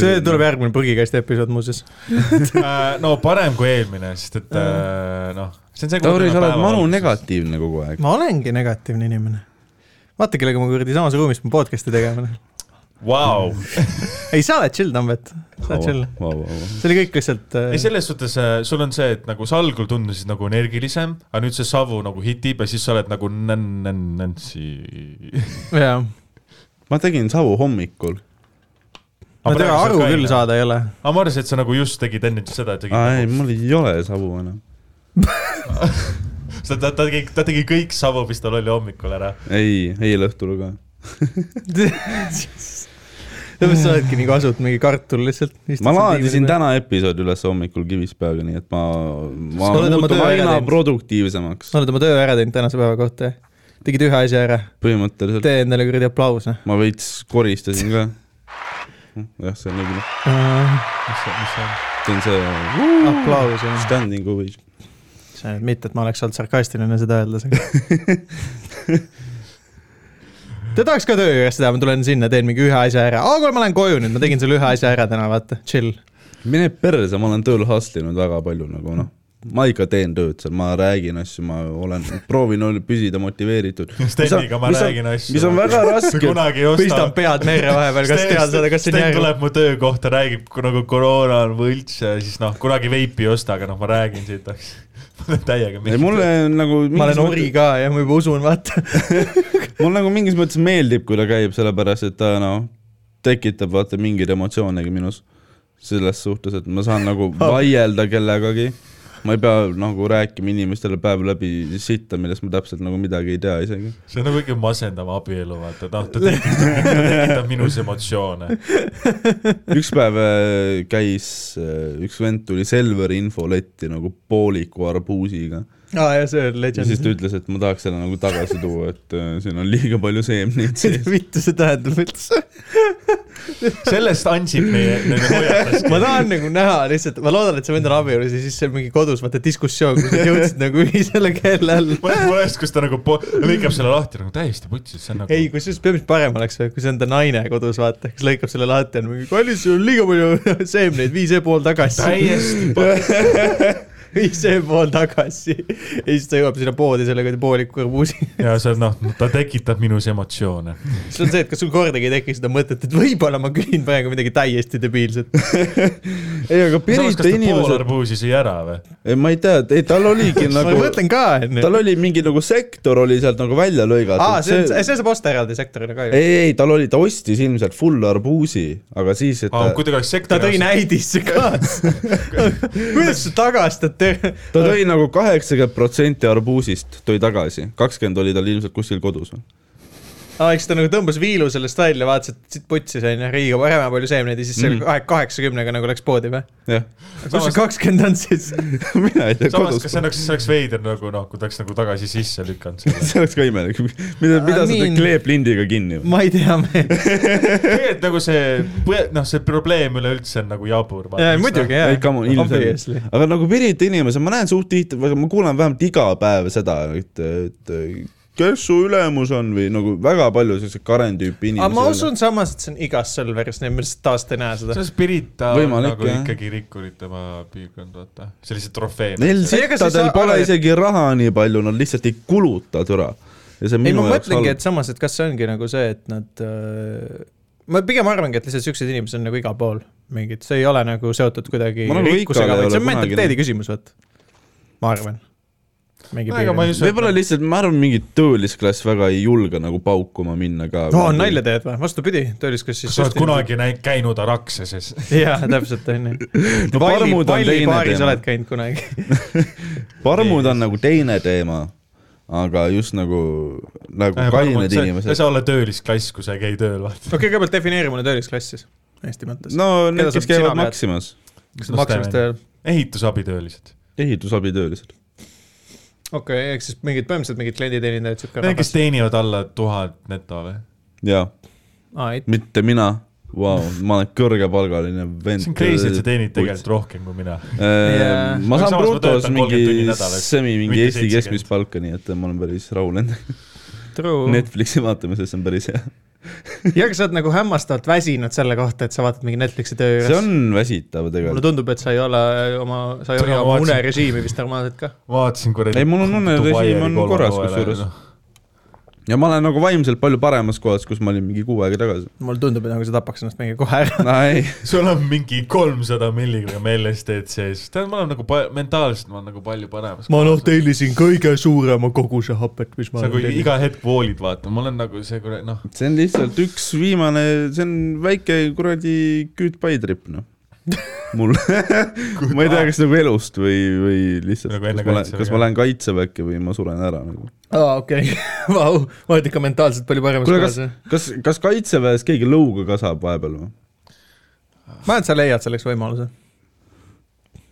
B: see tuleb . järgmine prügikasti episood muuseas .
C: Äh, no parem kui eelmine , sest et äh, noh , see on see .
A: Tauri , sa oled manu . negatiivne kogu aeg .
B: ma olengi negatiivne inimene . vaata , kellega ma kuradi samas ruumis pean podcast'i tegema .
C: Vau ,
A: Äh.
B: ei , sa oled chill , Tambet . sa oled chill . see oli kõik lihtsalt
C: ei
B: äh, .
C: selles suhtes äh, sul on see , et nagu sa algul tundusid nagu energilisem , aga nüüd see savu nagu hitib ja siis sa oled nagu nänn- , nänn- , Nancy .
B: jaa .
A: ma tegin savu hommikul .
B: ma
C: praegu
B: temaga
C: sa
B: aru
C: ka ei
B: küll
C: näe.
B: saada ei ole .
C: aga ma arvasin , et sa nagu just tegid enne seda , et tegid
A: aa ei ,
C: nagu ,
A: mul ei ole savu enam .
C: ta, nagu- ta, ta tegi , ta tegi kõik savu , mis tal oli hommikul ära .
A: ei , eile õhtul ka .
B: see lõpuks sa oledki nagu asud mingi kartul lihtsalt .
A: ma laadisin . täna episoodi üles hommikul Kivispäeval , nii et ma , ma
B: Sa oled oma
A: muutun
B: töö ära
A: aina
B: teinud.
A: produktiivsemaks ,
B: sa oled oma töö ära teinud tänase päeva kohta , jah ? tegid ühe asja ära ,
A: põhimõtteliselt .
B: tee endale kuradi aplaus , noh .
A: ma veits koristasin ka . jah , see on õige ,
C: mis see , mis see on ?
A: see on see uh,
B: aplaus , jah .
A: standing ovation .
B: see , mitte , et ma oleks olnud sarkastiline seda öeldes , aga Te tahaks ka töö juures seda , ma tulen sinna , teen mingi ühe asja ära , aa kuule , ma lähen koju nüüd , ma tegin selle ühe asja ära täna , vaata , chill .
A: mine perse , ma olen tööl hustle inud väga palju nagu noh , ma ikka teen tööd seal , ma räägin asju , ma olen , proovin ol- püsida motiveeritud .
C: Steniga ma räägin asju .
A: mis on väga raske ,
C: kunagi ei osta
B: pistan . pead merre vahepeal , kas tead seda , kas see on
C: Sten
B: järg- .
C: tuleb mu töökohta , räägib kui nagu koroona on võlts ja siis noh , kunagi veipi ei osta , aga noh , ma räägin siit , ma olen täiega
A: ei mulle nagu .
B: ma olen ori ka ja ma juba usun , vaata .
A: mul nagu mingis mõttes meeldib , kui ta käib , sellepärast et ta noh , tekitab vaata mingeid emotsioone ka minus . selles suhtes , et ma saan nagu vaielda kellegagi . ma ei pea nagu rääkima inimestele päev läbi sitta , millest ma täpselt nagu midagi ei tea isegi .
C: see on nagu kõige masendav abielu , vaata , noh , ta tekitab, ta tekitab minus emotsioone .
A: üks päev äh, käis , üks vend tuli Selveri infoletti nagu pooliku arbuusiga
B: aa ja see on
A: ja siis
B: legend
A: ta . ütles , et ma tahaks selle nagu tagasi tuua , et äh, siin on liiga palju seemneid sees .
B: mitte see tähendab üldse .
C: sellest Ansip meie nagu hoiatas .
B: ma tahan nagu näha lihtsalt , ma loodan , et see vend on abielus ja siis see on mingi kodus vaata diskussioon , kus nad jõudsid nagu ühisele keele alla .
C: ma olen mõnes , kus ta nagu po- lõikab selle lahti nagu täiesti putsis , see on nagu
B: ei , kusjuures peab , mis parem oleks , kui see on ta naine kodus , vaata , kes lõikab selle lahti , on mingi kallis , sul on liiga palju seemneid , vii see pool tagasi .
C: täiesti
B: vii see pool tagasi . ja siis ta jõuab sinna poodi selle kuradi pooliku karbuusi .
C: ja see on noh , ta tekitab minus emotsioone .
B: see on see , et kas sul kordagi ei teki seda mõtet , et võib-olla ma küsin praegu midagi täiesti debiilset .
A: ei , aga
C: samas , kas
A: perite
C: ta pool
A: inimesed ,
C: arbuusi sõi ära või ?
A: ma ei tea , ei tal oligi
B: ma
A: nagu
B: mõtlen ka , onju
A: tal . oli mingi nagu sektor oli sealt nagu välja lõigatud .
B: aa , see , see saab osta eraldi sektorina ka ju .
A: ei , ei tal oli , ta ostis ilmselt full arbuusi , aga siis , et
C: aa ,
A: ta,
C: kui ta oleks
B: ta
C: sektori
B: tõi näidisse kaasa . kuidas sa tagastad töö ?
A: ta tõi nagu kaheksakümmend protsenti arbuusist tõi tagasi , kakskümmend oli tal ilmselt kuskil kodus .
B: aa , eks ta nagu tõmbas viilu sellest välja , vaatas , et siit putsis onju , riiga parema palju seemneid ja siis selle
A: Mm.
B: kahe , kaheksakümnega nagu läks poodi või ?
A: jah ,
B: kus see kakskümmend on siis ?
A: mina ei tea ,
C: samas ,
A: kodus .
C: kas see oleks , see oleks veider nagu noh , kui ta oleks nagu tagasi sisse lükanud selle .
A: see oleks ka imelik , mida , mida
B: I
A: sa
B: mean-
A: teed kleeplindiga kinni ?
B: ma ei tea , me ,
C: tegelikult nagu see , noh , see probleem üleüldse on nagu jabur .
B: muidugi jah .
A: ei , come on , ilmselt . aga nagu Pirita inimesed , ma näen suht tihti , ma kuulen vähemalt iga päev seda , et , et kes su ülemus on või nagu väga palju selliseid Karen tüüpi inimesi .
B: aga ma usun samas , et see on igas Selveris , nii et ma lihtsalt taast ei näe seda .
C: see Spirita on
A: Võimalik,
C: nagu
A: jah.
C: ikkagi rikkurite maa piirkond , vaata . sellised trofeed .
A: Neil
B: Ei, ega sa ei
A: sittadel
B: saa
A: pole
B: aru, et-
A: isegi raha nii palju , nad lihtsalt ei kuluta türa . ja see on
B: ei ,
A: minu
B: ma
A: jaoks
B: mõtlengi ,
A: halb .
B: et samas , et kas see ongi nagu see , et nad äh, ma pigem arvangi , et lihtsalt siuksed inimesed on nagu igal pool mingid , see ei ole nagu seotud kuidagi
A: Ma nagu
B: rikkusega ,
A: ikal ei
B: vaid see
A: ole
B: on
A: kunagi
B: mentaliteedi küsimus , vot . ma arvan . mingi
C: No ega ma ei
B: piir .
C: usu ,
A: võib-olla lihtsalt , ma arvan , mingi töölisklass väga ei julge nagu paukuma minna ka .
B: no nalja teed või , vastupidi , töölisklass
C: kas
B: siis
C: sa oled . kunagi näinud , käinud Araxeses ?
B: jah , täpselt onju .
A: no,
B: palli ,
A: parmud on teine
B: pallibaaris
A: teema
B: oled , käinud kunagi .
A: parmud on nagu teine teema , aga just nagu , nagu kained
C: Äh, sa ei
A: inimesed .
C: saa olla töölisklass , kui sa ei käi tööl , vaata .
B: okei , kõigepealt defineeri mulle töölisklass siis , Eesti mõttes .
A: no need ,
B: sa-
A: kes
B: sina
A: käivad
B: pead?
A: Maximas ,
B: kas maksmist ajal ,
C: ehitusabitöölised .
A: ehitusabitöölised .
B: okei , ehk siis mingid põhimõtteliselt mingid klienditeenindajad , siuke
C: Need , kes teenivad alla tuhat neto või ?
A: jaa ,
B: rahvas .
A: mitte mina . Vau , ma olen kõrgepalgaline vend .
C: see on crazy , et sa teenid tegelikult rohkem kui mina .
A: Äh, ma
C: Aga
A: saan
C: samas ma
A: brutos
C: töötan 30 tunni
A: mingi
C: nädalas,
A: semi mingi
C: mitte
A: Eesti
C: 70.
A: keskmist palka , nii et ma olen päris rahul endaga .
B: True .
A: Netflixi vaatamises on päris hea .
B: ja kas sa oled nagu hämmastavalt väsinud selle kohta , et sa vaatad mingi Netflixi töö
A: see
B: juures ?
A: on väsitav
B: mulle
A: tegelikult .
B: tundub , et sa ei ole äh, oma , sa ei ole
C: Tere, ma
B: oma
C: vaatasin-
B: unerežiimi vist normaalselt ka .
C: vaatasin kuradi .
A: Ei, mul on unne- režiim on korras kusjuures.
C: noh.
A: ja ma olen nagu vaimselt palju paremas kohas , kus ma olin mingi kuu aega tagasi .
B: mulle tundub , et nagu sa tapaks ennast mingi kohe ära .
A: no ei ,
C: sul on mingi kolmsada milligrammi LSD-d sees , tähendab , ma olen nagu pa- mentaalselt ma olen nagu palju paremas .
B: ma noh , tellisin kõige suurema koguse hapet , mis ma
C: sa kui . iga hetk voolid vaata , mul on nagu see kuradi noh ,
A: see on lihtsalt üks viimane , see on väike kuradi küütpai trip , noh . mul , ma ei tea , kas nagu elust või , või lihtsalt , kas
C: Nagu enne
A: ma lähen ,
C: kaitseväge.
A: kas ma lähen kaitseväkke või ma suren ära nagu .
B: aa , okei , vau , ma olen ikka mentaalselt palju paremas
A: kuule ,
B: kohas
A: kas ,. kas , kas kaitseväes keegi lõuga ka saab vahepeal või ?
B: ma arvan , et sa leiad selleks võimaluse .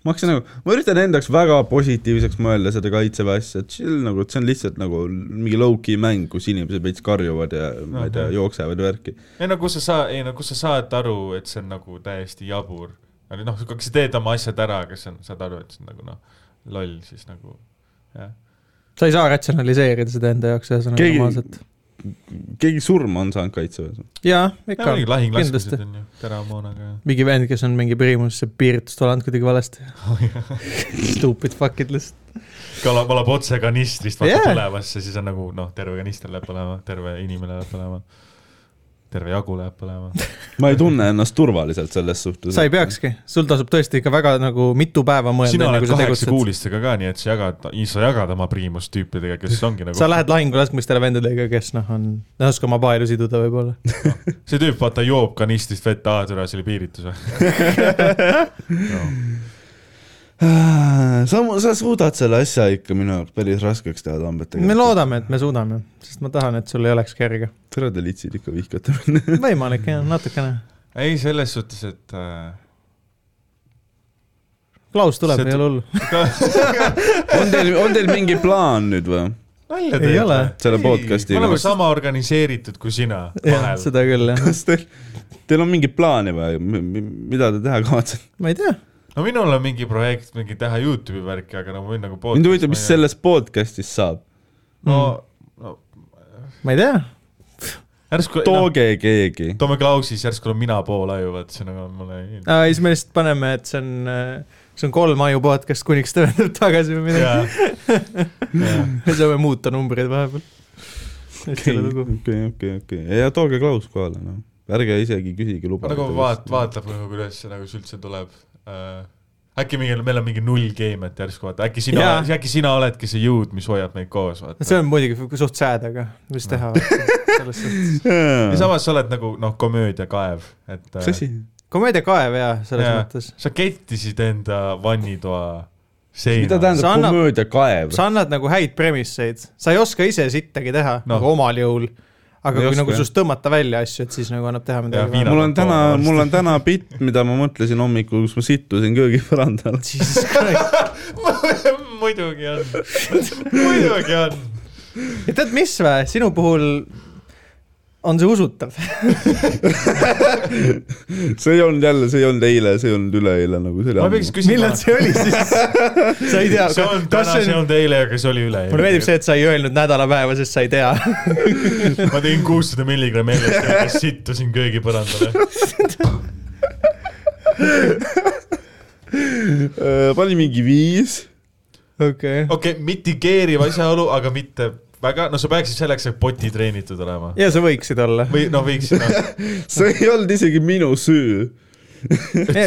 A: ma hakkasin nagu , ma üritan enda jaoks väga positiivseks mõelda seda kaitseväe asja , et chill nagu , et see on lihtsalt nagu mingi low-key mäng , kus inimesed veits karjuvad ja ma ei tea ,
C: Okei.
A: jooksevad ja värki .
C: ei no kus sa saa- , ei no kus sa saad aru , et see on nagu täiesti jabur . aga noh , kui sa teed oma asjad ära , aga see on , saad aru , et see on nagu noh , loll siis nagu , jah .
B: sa ei saa ratsionaliseerida seda enda jaoks ühesõnaga
A: Keegi-
B: normaalselt .
A: keegi surma on saanud kaitseväes ?
B: jaa , ikka
C: mingi
B: on ,
C: lahinglaskmised
B: kindlasti .
C: on ju , teravmoonaga ja .
B: mingi vend , kes on mingi priimusse piiritus talanud kuidagi valesti .
C: Oh,
B: Stupid fuck'id lihtsalt .
C: kala , valab otse kanistrist , vaata
B: Jaa.
C: yeah. põlevasse , siis on nagu noh , terve kanister läheb põlema , terve inimene läheb põlema . terve jagu läheb põlema .
A: ma ei tunne ennast turvaliselt selles suhtes .
B: sa ei . peakski , sul tasub tõesti ikka väga nagu mitu päeva mõelda ,
C: sina
B: enne
C: oled
B: kui sa tegutsed .
C: kaheksakuulistega ka , nii et sa jagad , sa jagad oma priimust tüüpidega , kes ongi nagu
B: sa lähed lahingulaskmistele vendadega , kes noh , on , ei oska oma paelu siduda võib-olla .
C: see tüüp vaata joob kanistrist vett , aa türa , see oli piiritus või no. ?
A: Ah, sa , sa suudad selle asja ikka minu jaoks päris raskeks teha tambetega .
B: me . loodame , et me suudame , sest ma tahan , et sul ei oleks kerge .
A: tere , te litsid ikka vihkate mind .
B: võimalik jah , natukene .
C: ei , selles suhtes , et äh,
B: Klaus tuleb ,
C: See
B: ei
C: tu-
B: ole hullu .
A: on teil , on teil mingi plaan nüüd või ?
C: nalja
B: Ei ole.
A: Selle podcasti-
C: äh, me oleme sama organiseeritud kui sina
B: jah ,
C: vahel .
B: seda küll jah .
A: kas teil , teil on mingit plaani või , mida te teha kavatsete ?
B: ma ei tea ,
C: no minul on mingi projekt , mingi teha Youtube'i värki , aga no ma võin nagu
A: mind huvitab , mis . sellest podcast'ist saab .
C: no,
B: Mm.
C: no
B: ma ei tea .
C: järsku no, ,
A: tooge keegi .
C: toome Klausi , siis järsku olen mina pool aju , vaat see on nagu mulle ei
B: ja siis me lihtsalt paneme , et see on , see on kolm aju podcast , kuniks ta tuleb tagasi või midagi .
C: jaa , jaa
B: me saame muuta numbreid vahepeal . selle lugu .
A: okei , okei , okei , ja tooge Klaus kohale , noh . ärge isegi küsige luba .
C: nagu vaat- ,. vaatab nagu kuidas see nagu see üldse tuleb äh, . äkki meil , meil on mingi null game , et järsku vaata , äkki sina
B: Jaa. ,
C: äkki sina oledki see jõud , mis hoiab meid koos , vaata .
B: see on muidugi suht sääd , aga mis teha . selles suhtes .
C: ja samas sa oled nagu noh , komöödiakaev , et
A: mis asi ?
B: komeediakaev jaa , selles
C: Jaa.
B: mõttes .
C: sa kettisid enda vannitoa seina .
A: mida
B: Sa
A: tähendab
B: annad-
A: komöödiakaev ?
B: sa annad nagu häid premisseid , sa ei oska ise sittagi teha no.
C: Noh.
B: nagu omal jõul . aga
A: Ei
B: kui
A: oska,
B: nagu
A: jah.
B: sinust tõmmata välja asju , et siis nagu annab teha
C: Jah,
B: midagi .
C: viina-
A: mul on täna
C: Varsti. ,
A: mul on täna bitt , mida ma mõtlesin hommikul , kus ma sittusin köögipõrandal .
B: Jesus Christ ,
C: muidugi on , muidugi on .
B: ja tead mis vä , sinu puhul on see usutav .
A: see ei olnud jälle , see ei olnud eile , see ei olnud üleeile nagu , see oli
C: ma peaks
A: ammu .
C: küsima
B: millal , see oli siis ? sa ei tea ,
C: see on
B: kas
C: täna , see
B: see on ,
C: on teile , aga see oli üle .
B: mulle meeldib see , et sa ei öelnud nädalapäeva , sest sa ei tea .
C: ma tegin kuussada milligrammi LSD-d ja sittusin köögipõrandale .
A: panin Äh, mingi viis ,
B: okei .
C: okei okay, , mitigeeriv asjaolu , aga mitte väga , no sa peaksid selleks , et poti treenitud olema .
B: ja sa võiksid olla .
C: või noh , võiks no. .
A: see ei olnud isegi minu süü .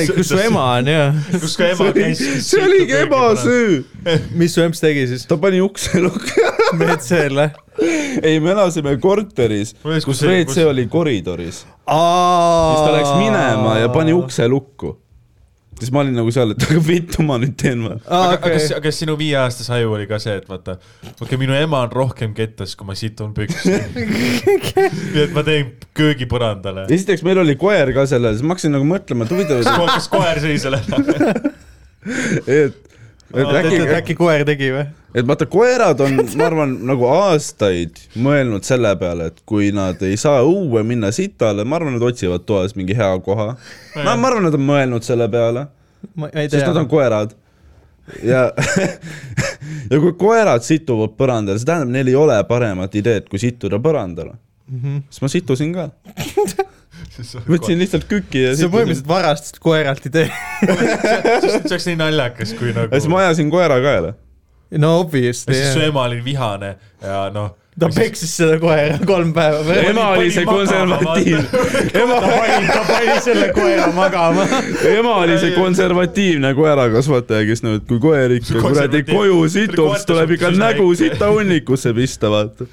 B: kus su ema on ja ,
C: kus ka ema käis .
A: see oligi ema . süü ,
B: mis su emps tegi siis ?
A: ta pani ukse lukku .
B: WC-le .
A: ei , me elasime korteris ,
C: Kus-
A: kus
C: kus-
A: WC
C: kus-
A: oli koridoris , siis
B: siis
A: ta läks minema ja pani ukse lukku . siis ma olin nagu seal , et aga vittu ma nüüd teen või ?
B: ah, . Okay.
C: aga okay. kas , kas sinu viieaastase aju oli ka see , et vaata , okei okay, , minu ema on rohkem kettas , kui ma situn püksi . nii et ma teen köögipõrandale .
A: esiteks meil oli koer ka sellel , siis ma hakkasin nagu mõtlema , et huvitav , et
C: kas koer sõi selle ära ?
A: et, et
B: äkki ,
A: äkki ,
B: äkki koer tegi või ?
A: et vaata , koerad on , ma arvan , nagu aastaid mõelnud selle peale , et kui nad ei saa õue minna sitale , ma arvan , nad otsivad toas mingi hea koha . ma , ma arvan , nad on mõelnud selle peale ,
B: ma ei
A: sest nad
B: tea
A: on . koerad . ja ja kui koerad situvad põrandale , see tähendab , neil ei ole paremat ideed , kui situda põrandale . siis ma situsin ka , võtsin lihtsalt küki ja
B: sa
A: situsin .
B: põhimõtteliselt varastasid koeralt idee .
C: see oleks nii naljakas , kui nagu
A: ja . siis ma ajasin koera ka jälle .
B: no
C: ja
B: obviously
C: siis su
B: jah .
C: ema oli vihane ja noh .
B: ta peksis seda koera kolm päeva või ?
A: ema oli see konservatiiv ,
B: ta pani , ta pani selle koera magama .
A: ema oli see konservatiivne koerakasvataja , kes nüüd , kui koer ikka kuradi
C: Konservatiiv-
A: koju situb , siis tuleb ikka
C: Koerte-
A: nägu sitahunnikusse pista , vaata .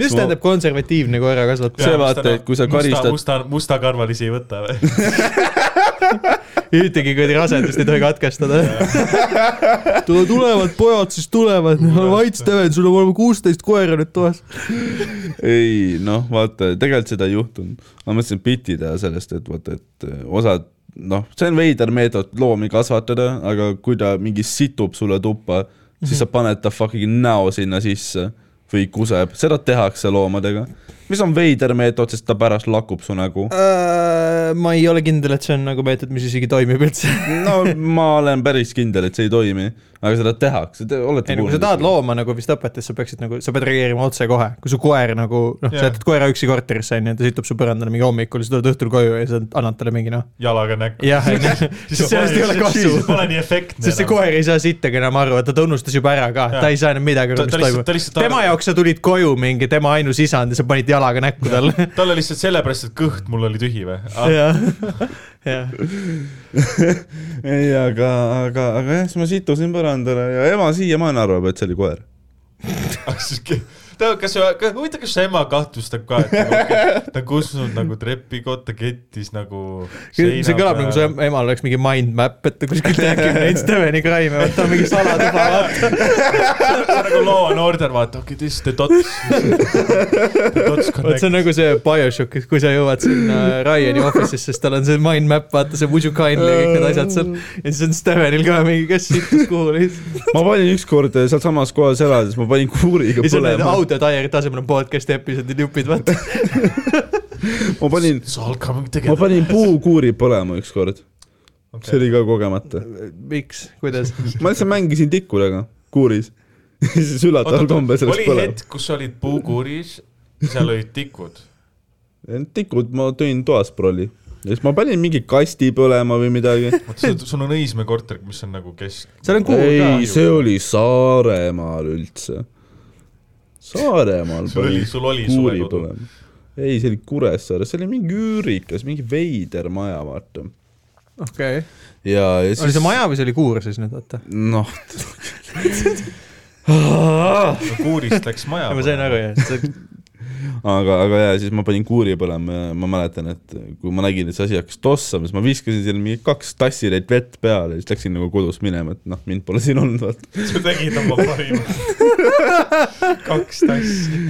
B: mis tähendab konservatiivne koerakasvataja ?
A: see vaata, et kui sa karistad-
C: musta , musta , mustakarvalisi ei võta või ?
B: ühtegi kuradi rasedust ei tohi katkestada . tule , tulevad pojad , siis tulevad , vait Steven , sul on olema kuusteist koera nüüd toas .
A: ei noh , vaata , tegelikult seda ei juhtunud . ma mõtlesin bitti teha sellest , et vaata , et osad noh , see on veider meetod loomi kasvatada , aga kui ta mingi situb sulle tuppa , siis
B: Mhm.
A: sa paned ta fucking näo sinna sisse või kuseb , seda tehakse loomadega , mis on veider meetod , sest ta pärast lakub su nägu .
B: Äh, ma ei ole kindel , et see on nagu meetod , mis isegi toimib üldse .
A: no ma olen päris kindel , et see ei toimi , aga seda tehakse , te olete
B: ei no kui sa tahad looma nagu vist õpetada , siis sa peaksid nagu , sa pead reageerima otsekohe , kui su koer nagu noh , sa
C: Jaa.
B: jätad koera üksi korterisse onju , ta situb su põrandale mingi hommikul , sa tuled õhtul koju ja sa annad talle mingi noh .
C: jalaga näkku .
B: jah , sest sellest ei ole kasu .
C: Pole nii efektne . noh.
B: sest see koer ei saa sittagi enam aru , et ta unustas juba ära ka ,
C: Jaa.
B: ta ei saa enam midagi
C: Ta-
B: aru , mis
C: ta lihtsalt- ta
B: toimub
C: lihtsalt . arvab-
B: tema jaoks sa tulid koju mingi tema ainus isand ja sa panid jalaga näkku talle .
C: tal oli lihtsalt sellepärast , et kõht mul oli tühi või ? Ah,
B: jah , Ah. jah .
A: ei , aga , aga , aga jah , siis ma situsin põrandale ja ema siiamaani arvab , et see oli koer .
C: ah, ta , kas , huvitav , kas su ema kahtlustab ka , et nagu, okei, ta on kustunud nagu trepikotta kettis nagu .
B: see kõlab nagu su . em- emal oleks mingi mind map , et ta kuskil tekib neid Steveni kraime , vaata mingi salatuba , vaata .
C: nagu loo on order , vaata , okei okay, , this is the dots . The
B: vot
C: dots
B: see
C: connect .
B: on nagu see BioShock , et kui sa jõuad sinna Ryan'i office'isse , siis tal on see mind map , vaata see Would you kindly ja kõik need asjad seal . ja siis on Stevenil ka mingi , kes sittus kuhu lihtsalt .
A: ma panin ükskord eh, sealsamas kohas elades , ma panin kuuriga
B: ja siis on need
A: põlema .
B: audiotajari tasemel on podcast'i episoodid , jupid , vaata .
A: ma panin ,
C: It's all coming
A: ma
C: together .
A: panin puukuuri põlema ükskord okay. . see
C: Okei.
A: oli ka kogemata .
B: miks , kuidas ?
A: ma lihtsalt mängisin tikudega kuuris . siis üllataval kombel sellest
C: oli
A: põleb .
C: hetk , kus sa olid puukuuris , seal olid tikud .
A: tikud ma tõin toas prolli . ja siis ma panin mingi kasti põlema või midagi .
C: sul on Õismäe korter , mis on nagu kesk .
B: seal on kuul ka
A: ei ,. see oli Saaremaal üldse . Saaremaal
C: Sul oli- sul oli
A: kuuri
C: suvekodu.
A: põlema . ei , see oli Kuressaares , see oli mingi üürikas , mingi veider maja , vaata .
B: okei okay. ,
A: ja , ja siis .
B: oli see maja või see oli kuur siis nüüd , vaata ?
A: noh ,
B: Ah!
C: kuurist läks maja .
B: ma sain aru jah ,
A: aga , aga ja siis ma panin kuuri põlema ja ma mäletan , et kui ma nägin , et see asi hakkas tossama , siis ma viskasin sinna mingi kaks tassitäit vett peale ja siis läksin nagu kodus minema , et noh , mind pole siin olnud , vaata .
C: sa tegid oma parima . kaks tassi .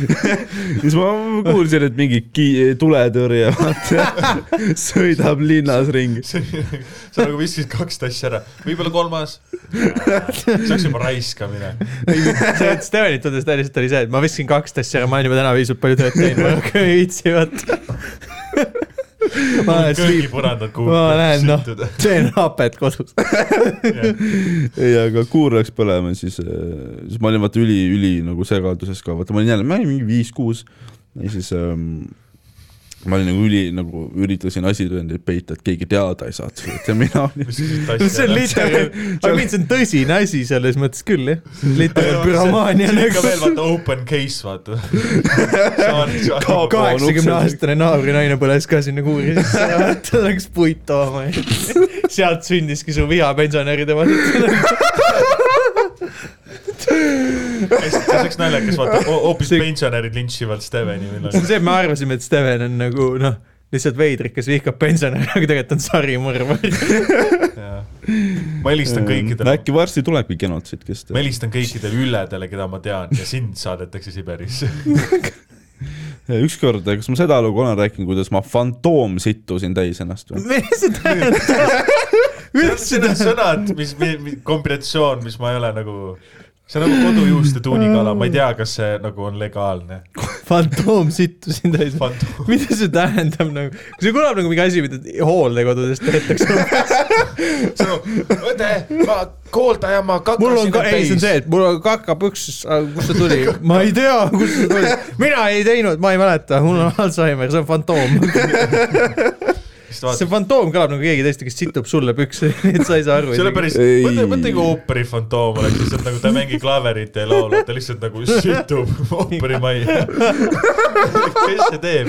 A: siis ma kuulsin , et mingi ki- , tuletõrje , vaata , sõidab linnas ringi .
C: sa nagu viskasid kaks tassi ära , võib-olla kolmas . see oleks juba raiskamine .
B: see , et Stevenit tundes ta lihtsalt oli see , et ma viskasin kaksteist ära , ma olin juba täna piisavalt palju tööd teinud , ma rohkem ei viitsi vaata . ma lähen sleep ,
C: köögipõrandad
B: ma lähen noh
C: kuhugi .,
B: teen hapet kodus .
A: ei , aga kuur läks põlema , siis , siis ma olin vaata üli , üli nagu segaduses ka , vaata ma olin jälle , ma olin mingi viis-kuus ja siis ähm, ma olin nagu üli , nagu üritasin asitõendeid peita , et keegi teada ei saaks , et mina olin
B: see on literaalne , I mean see on tõsine asi selles mõttes küll jah , literaalne püromaania
C: ikka veel
B: nagu .
C: vaata open case vaata .
B: kaheksakümne aastane naabrinaine põles ka sinna kuuri sisse , ta läks puit tooma ja sealt sündiski su viha pensionäride vastu .
C: see oleks naljakas vaata , hoopis pensionärid lintšivad Steveni
B: see
C: või
B: on
C: midagi .
B: see , me arvasime , et Steven on nagu noh , lihtsalt veidrikas vihkab pensionäre , aga tegelikult on sarimõrvar .
C: ma helistan kõikidele ,
A: Äh, äkki varsti tulebki genotsiid , kes
C: ma
A: teab .
C: helistan kõikidele üledele , keda ma tean ja sind saadetakse Siberisse .
A: Äh, ükskord , kas ma seda lugu olen rääkinud , kuidas ma fantoomsittusin täis ennast või ?
B: mis see tähendab ? üldse
C: Need on sõnad , mis , kombinatsioon , mis ma ei ole nagu , see on nagu kodujuuste tuunikala , ma ei tea , kas see nagu on legaalne .
B: fantoomsittu siin täis . mida see tähendab nagu , see kõlab nagu mingi asi , mida hooldekodudes tehtakse .
C: nagu, õde , ma kooldaja , ma kakku
B: mul on ka , ei see on see , et mul on kakapüksis , kust see tuli , ma ei tea , kust see tuli , mina ei teinud , ma ei mäleta , mul on Alžeimer , see on fantoom . see
C: see .
B: fantoom kõlab nagu keegi teist , kes situb sulle pükse , et sa nagu- ei saa aru .
C: see oli päris , nagu
A: Ei.
C: mõtle , mõtle kui ooperi fantoom oleks lihtsalt nagu ta ei mängi klaverit ja ei laula , ta lihtsalt nagu situb ooperimajja . kes see teeb ?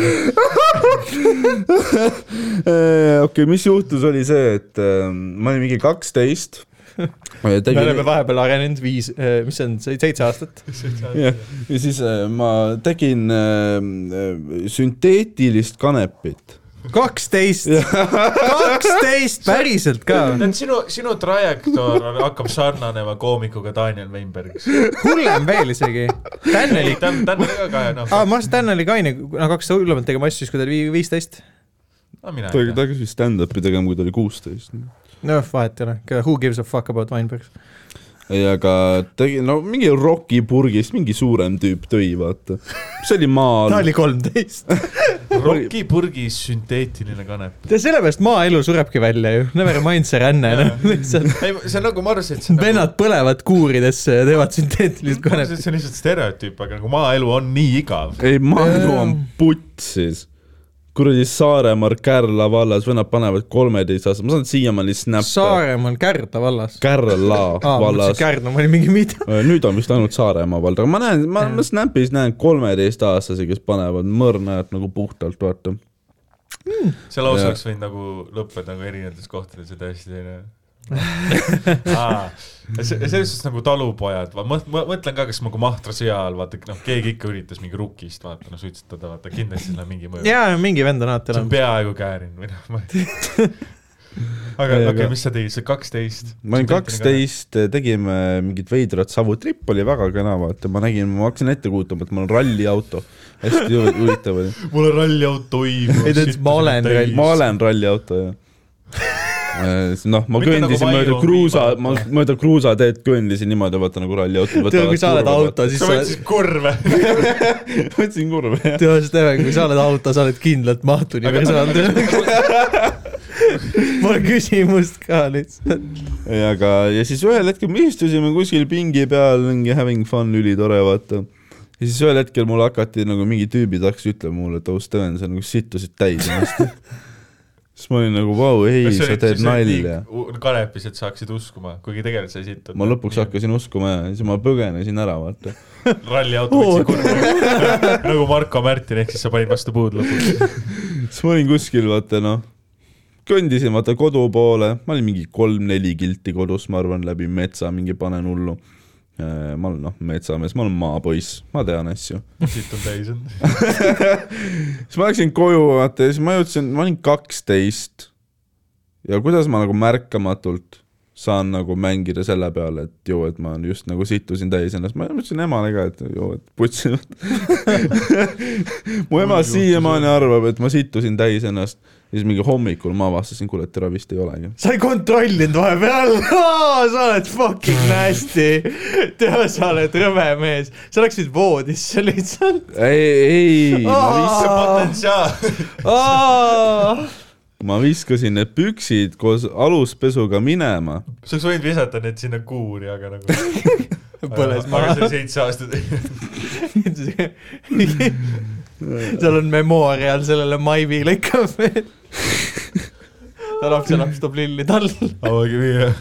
A: Äh, okei okay, , mis juhtus , oli see , et ähm, ma olin mingi kaksteist . me
B: me oleme vahepeal arenenud viis , mis see on , seitse aastat .
A: jah , ja siis äh, ma tegin äh, äh, sünteetilist kanepit
B: kaksteist , kaksteist , päriselt ka .
C: tead , sinu , sinu trajektoor on- hakkab sarnanema koomikuga Daniel Weinbergis .
B: hullem veel isegi . Täneli ,
C: ta on , ta on väga kahe , noh
B: aa , ma arvasin , et Täneli Kaine , no hakkas hullemalt tegema asju siis , kui ta oli vi- viisteist .
C: no mina
A: ta
C: ei tea .
A: hakkas vist stand-up'i tegema , kui ta oli kuusteist .
B: noh , vahet ei ole , who gives a fuck about Weinberg .
A: ei , aga tegi , no mingi rokipurgist mingi suurem tüüp tõi , vaata . see oli maal
B: ta . oli kolmteist .
C: Rocki purgis sünteetiline kanep .
B: ja sellepärast maaelu surebki välja ju , never mind see ränne , noh , lihtsalt
C: ei , see on nagu , ma arvasin , et see on
B: vennad põlevad kuuridesse ja teevad sünteetilist
C: nagu ,
B: kanepit .
C: see on lihtsalt stereotüüp , aga nagu maaelu on nii igav .
A: ei , maaelu on putsis . kuradi Saaremaal Kärla vallas vennad panevad kolmeteistaastased , ma saan siiamaani snappe .
B: Saaremaal Kärdla vallas .
A: Kärla
B: aa , ma mõtlesin
A: vallas .
B: Kärdla , ma olin mingi mida .
A: Äh, nüüd on vist ainult Saaremaa vald , aga ma näen , ma , ma Snapis näen kolmeteistaastasi , kes panevad mõrnajat nagu puhtalt , vaata .
C: see lause
A: Jah.
C: oleks võinud nagu lõppeda nagu erinevates kohtades ja täiesti teine Aa, ja se- ja selles suhtes nagu talupojad , ma mõt- ma mõtlen ka , kas nagu Mahtra sõja ajal vaata , noh , keegi ikka üritas mingi rukist vaata , no suitsetada , vaata kindlasti seal on mingi mõju .
B: jaa , mingi vend on alati
C: see on
B: enam .
C: peaaegu käärin või noh , ma ei aga
A: Ei,
C: okei
A: aga-
C: okay, , mis sa tegid , sa kaksteist ?
A: ma olin . kaksteist , tegime mingit veidrat savu , trip oli väga kena , vaata , ma nägin , ma hakkasin ette kujutama , et mul on ralliauto . hästi hu- huvitav oli .
C: mul on ralliauto õigus .
B: Ei, ta ütles, ma olen ralli-
A: ma . olen ralliauto , jah . noh , ma
C: Mitte
A: kõndisin
C: nagu
A: mööda
C: Vaino
A: kruusa ,
C: viimane.
A: ma mööda kruusateed kõndisin niimoodi , vaata nagu ralliautod
B: tead , kui sa oled . auto , siis
C: sa
B: sa
C: võtsid kurve .
A: võtsin kurve , jah .
B: tead , Steven , kui sa oled auto , sa oled kindlalt Mahtuni
C: Aga-
B: personaalne Pole küsimust ka lihtsalt .
A: ei , aga , ja siis ühel hetkel me istusime kuskil pingi peal , mingi having fun , ülitore , vaata . ja siis ühel hetkel mulle hakati nagu mingi tüübid hakkasid ütlema mulle , et oh Steven , sa nagu sittusid täis ennast . siis ma olin nagu vau , ei , sa teed nalja ..
C: kanepis , et saaksid uskuma , kuigi tegelikult sa ei sittunud .
A: ma lõpuks . hakkasin uskuma ja siis ma põgenesin ära , vaata .
C: ralliauto võtsid kurva , nagu Marko Märtin , ehk siis sa panid vastu puud lõpuks .
A: siis ma olin kuskil , vaata noh , kõndisin vaata kodu poole , ma olin mingi kolm-neli kilti kodus , ma arvan , läbi metsa mingi panen hullu . ma olen noh , metsamees , ma olen maapoiss , ma tean asju .
C: siit on täis on .
A: siis ma läksin koju , vaata , ja siis ma jõudsin , ma olin kaksteist . ja kuidas ma nagu märkamatult saan nagu mängida selle peale , et ju , et ma just nagu sittusin täis ennast , ma ütlesin emale ka , et ju , et putsin . mu ema siiamaani arvab , et ma sittusin täis ennast ja siis mingi hommikul ma avastasin , kuule , et tere vist ei olegi .
B: sa ei kontrollinud vahepeal , sa oled fucking nasty . tead , sa oled rõve mees , sa läksid voodisse lihtsalt .
A: ei , ei , ma viskasin ,
C: potentsiaal .
B: sa
A: ma viskasin need püksid koos aluspesuga minema
C: sa oleks võinud visata need sinna kuuri , aga nagu .
B: Põles maha.
C: aga see oli seitse aastat .
B: seal on memorial sellele Maivile ikka veel . ta lapselaps toob lilli talle .
C: avage viie .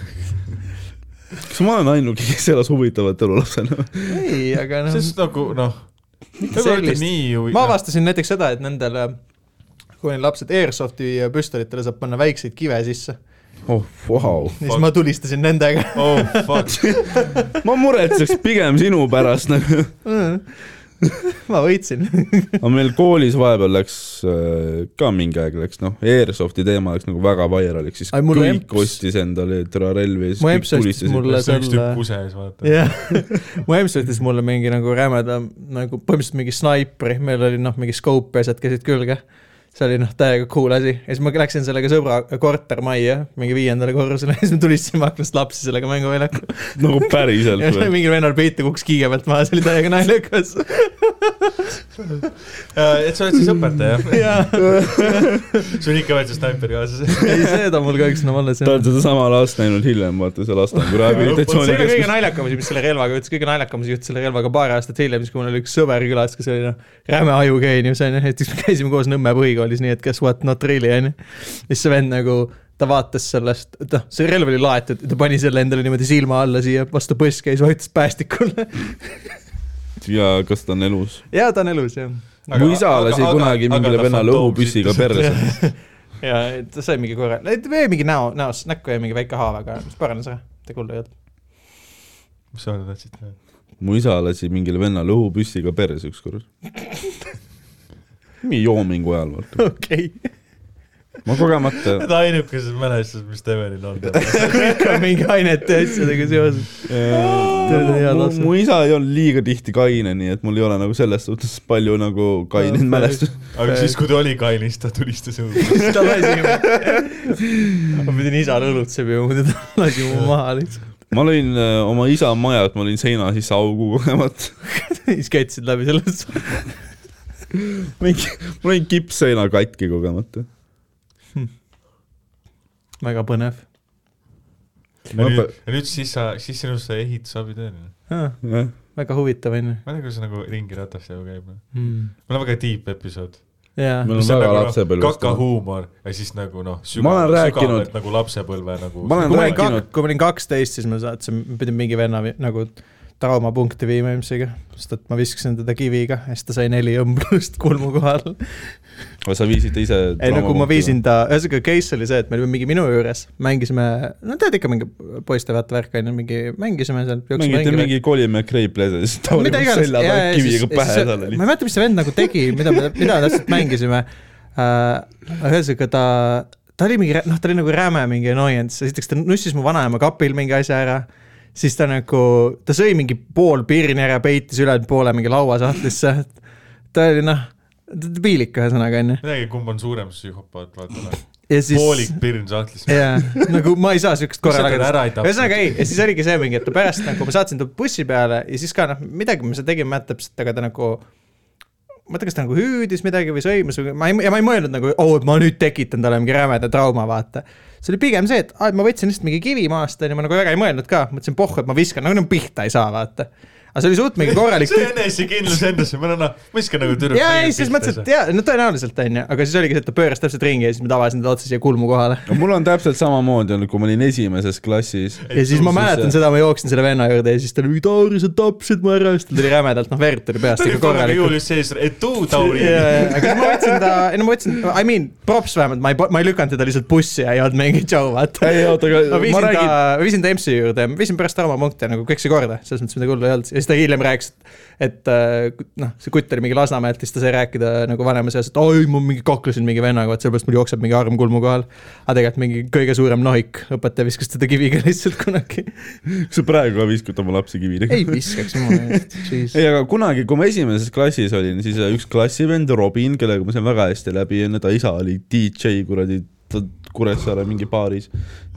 A: kas ma olen ainuke , kes elas huvitavat elu lapsena ?
B: ei , aga noh .
C: see on siis nagu noh , võib-olla
B: sellist .
C: nii ju .
B: ma avastasin näiteks seda , et nendele , kui neil lapsed Airsofti püstolitele saab panna väikseid kive sisse ,
A: oh , vau .
B: siis ma tulistasin nendega .
C: oh fuck ,
A: ma muretseks pigem sinu pärast nagu .
B: ma võitsin .
A: aga meil koolis vahepeal läks äh, ka mingi aeg läks noh , Airsofti teema läks nagu väga vairaliks , siis
B: Ai,
A: Ai,
B: mul
A: kõik
B: emps-
A: emps... ostis endale trarelvi ja
B: Mu
A: siis
B: emps
A: kõik tulistasid
B: ostis
A: mulle... .
B: mulle
C: see on üks
B: selle-
C: tükk kuses , vaata .
B: jah , mu emps ütles mulle mingi nagu rämeda nagu põhimõtteliselt mingi snaipri , meil oli noh , mingi scope ja asjad käisid külge . see oli noh , täiega cool asi ja siis ma läksin sellega sõbra kortermajja , mingi viiendale korrusele ja siis me tulistasime aknast lapsi sellega mänguväljakul .
A: nagu päriselt
B: ja
A: või ?
B: mingil vennal peitu kukkus kiige pealt maha , see oli täiega naljakas .
C: et sa oled siis õpetaja , jah ?
B: jaa ,
C: sul ikka veel see snaiper kaasas .
B: ei seda mul kahjuks enam alles ei
A: ta on sedasama last näinud hiljem , vaata see last on
B: see oli kõige
A: rehabilitatsioonikeskus .
B: naljakam asi , mis selle relvaga juhtus , kõige naljakam asi juhtus selle relvaga paar aastat hiljem , siis kui mul oli üks sõber külas , kes oli noh , räme ajugeenius onju , et siis me käisime koos Nõmme põhikoolis , nii et guess what not really onju . ja siis see vend nagu , ta vaatas sellest , et noh , see relv oli laetud , ta pani selle endale niimoodi silma alla siia vastu põske ja siis vajutas päästikule .
A: ja kas ta on elus ?
B: ja ta on elus jah .
C: Aga-
A: mu isa
C: aga-
A: lasi
C: aga-
A: kunagi
C: aga
A: mingile
C: ta
A: vennale
C: fantoom
A: õhupüssiga
C: sittus.
A: perse .
B: ja ta sai mingi korra , või mingi näo , näos näkku ja mingi väike haav , aga mis paranes ära , ta kuulda ei olnud .
C: mis sa tahtsid teha ?
A: mu isa lasi mingile vennale õhupüssiga perse ükskord . mingi joomingu ajal , vaata .
B: okei okay. .
A: ma kogemata ,
C: Need ainukesed mälestused , mis Stevenil on .
B: kõik on mingi ainete ja asjadega seoses . Tead, hea
A: mu,
B: lapsed.
A: mu isa ei olnud liiga tihti kaine , nii et mul ei ole nagu selles suhtes palju nagu kaineid
B: Jaa,
A: mälestusi .
C: aga siis , kui ta oli kainis , ta tulistas õue .
B: ta lasi mu , ma pidin isa lõõlutsema ja muidu ta lasi mu maha lihtsalt .
A: ma lõin äh, oma isa maja , et ma lõin seina sisse augu kogemata .
B: siis kätsid läbi sellest .
A: mingi , ma lõin kippseina katki kogemata .
B: väga põnev .
C: ja nüüd , ja nüüd siis sa , siis sinust sai ehitusabitööline .
B: väga huvitav onju
C: ma ei tea , kuidas see nagu ringi ratastajaga käib . meil
A: Hmm.
B: mm. .
C: on väga deep episood . nagu,
B: jaa ,
A: Meil on väga lapsepõlvest-
C: kakahuumor noh, ja siis nagu noh ,
A: Ma olen rääkinud-
C: sügavalt nagu lapsepõlve nagu .
A: Ma olen
B: kui ma olin
A: rääkinud-
B: kak- , kui ma olin kaksteist , siis ma saatsin , pidin mingi venna vi- nagu traumapunkti viima ilmselgi , sest et ma viskasin teda kiviga ja siis ta sai neli õmblust kulmu kohal .
A: aga sa viisid ta ise .
B: ei no kui ma viisin . ta , ühesõnaga case oli see , et me olime mingi minu juures , mängisime , no tead ikka mingi poistevätta värk on ju , mingi mängisime seal .
A: mängite mingi kolime Kreipleses , ta oli mul selja taga nagu kiviga pähe talle
B: ma ei mäleta , mis see vend nagu tegi , mida me , mida me täpselt mängisime uh, . ühesõnaga ta , ta oli mingi , noh , ta oli nagu räme mingi annoyance , esiteks ta nussis mu vanaema kapil mingi asja ära . siis ta nagu , ta sõi mingi pool pirni ära , peitis ülejäänud poole mingi lauasahtlisse . ta oli noh , piinlik ühesõnaga onju .
C: midagi , kumb on suurem psühhopaat , vaata noh .
B: ja siis .
C: poolik pirn sahtlis .
B: jaa , nagu ma ei saa siukest
C: Kus sa
B: korra
C: teda ära ei
B: lageda .
C: tapnud?
B: ühesõnaga ei , ja siis oligi see mingi , et ta pärast nagu ma saatsin ta bussi peale ja siis ka noh , midagi me seal tegime , ma ei mäleta täpselt , aga ta nagu . ma ei tea , kas ta nagu hüüdis midagi või sõimas või ma ei , ja ma ei mõelnud nagu , oo , et ma nüüd tekitan talle mingi rämeda trauma , vaata . see oli pigem see , et aa , et ma võtsin lihtsalt mingi kivi maast onju , ma nagu väga ei mõelnud ka , mõtlesin pohh , et ma viskan , nagu no pihta ei saa , vaata . aga see oli suht mingi korralik
C: see enesekindlus endasse , ma olen noh , ma viskan nagu tüdruk .
B: jaa , ei siis mõtlesin , et jaa , no tõenäoliselt onju , aga siis oligi see , et ta pööras täpselt ringi ja siis ma tabasin ta otse siia kulmu kohale .
A: no mul on täpselt samamoodi olnud , kui ma olin esimeses klassis .
B: ja siis ma
A: tõusis,
B: mäletan
A: jah.
B: seda , ma jooksin selle venna juurde ja siis ta oli , Tauri , sa tapsid mu ära , siis tal oli rämedalt , noh verd tuli peast
C: ta oli
B: ikka
C: korraga
B: korralikult .
C: juulis sees , nagu et tuu , Tauri .
B: aga siis ma võtsin ta , ei no ma võtsin , I mean , props vähemalt , ma ei , ma ei lükanud teda lihtsalt bussi ja ei olnud mingi tšau , vaata .
A: ei oota , aga ma
B: ma viisin ta
A: räägin ,,
B: viisin ta EMS-i juurde , viisin pärast traumapunkti nagu kõik see korda , selles mõttes midagi hullu ei olnud ja siis ta hiljem rääkis , et äh, noh , see kutt oli mingi Lasnamäelt ja siis ta sai rääkida nagu vanema seas , et oi , ma mingi kaklesin mingi vennaga , vaat sellepärast mul jookseb mingi arm kulmu kohal . aga tegelikult mingi kõige suurem nohik , õpetaja viskas teda kiviga lihtsalt kunagi .
A: kas sa praegu ka viskad oma lapse kividega ?
B: ei viskaks jumala eest , jeez .
A: ei , aga kunagi , kui ma esimeses klassis olin , siis üks klassivend , Robin , kellega ma sain väga hästi läbi , enne ta isa oli DJ kuradi , ta Kuressaare mingi baaris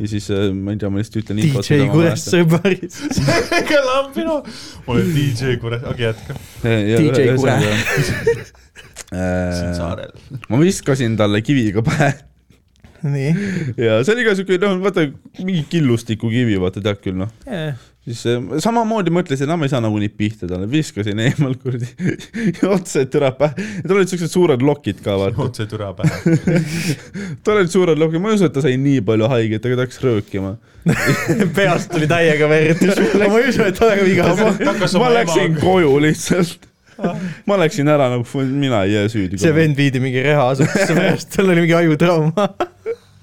A: ja siis äh, ma ei tea , ma lihtsalt ütlen
B: DJ Kuressaare baaris .
C: ega lambi noh , ma olen DJ kurat , okei jätka .
B: DJ Kure. .
C: siin saarel .
A: Äh, ma viskasin talle kiviga pähe
B: nii .
A: ja see oli ka siuke , noh , vaata mingi killustiku kivi , vaata tead küll , noh , siis äh, samamoodi mõtlesin , enam ei saa nagunii pihta talle , viskasin eemal kuradi otse türa pähe , tal olid siuksed suured lokid ka , vaata .
C: otse türa pähe .
A: tal olid suured lokid , ma ei usu , et ta sai nii palju haiget , aga ta hakkas röökima .
B: peast tuli täiega verd . ma ei usu , et oleks viga .
C: hakkas
A: ma
C: oma
A: läksin
C: emaga .
A: koju lihtsalt . ma läksin ära nagu , mina ei jää süüdi .
B: see vend viidi mingi rehaasutusse pärast , tal oli mingi ajutrauma .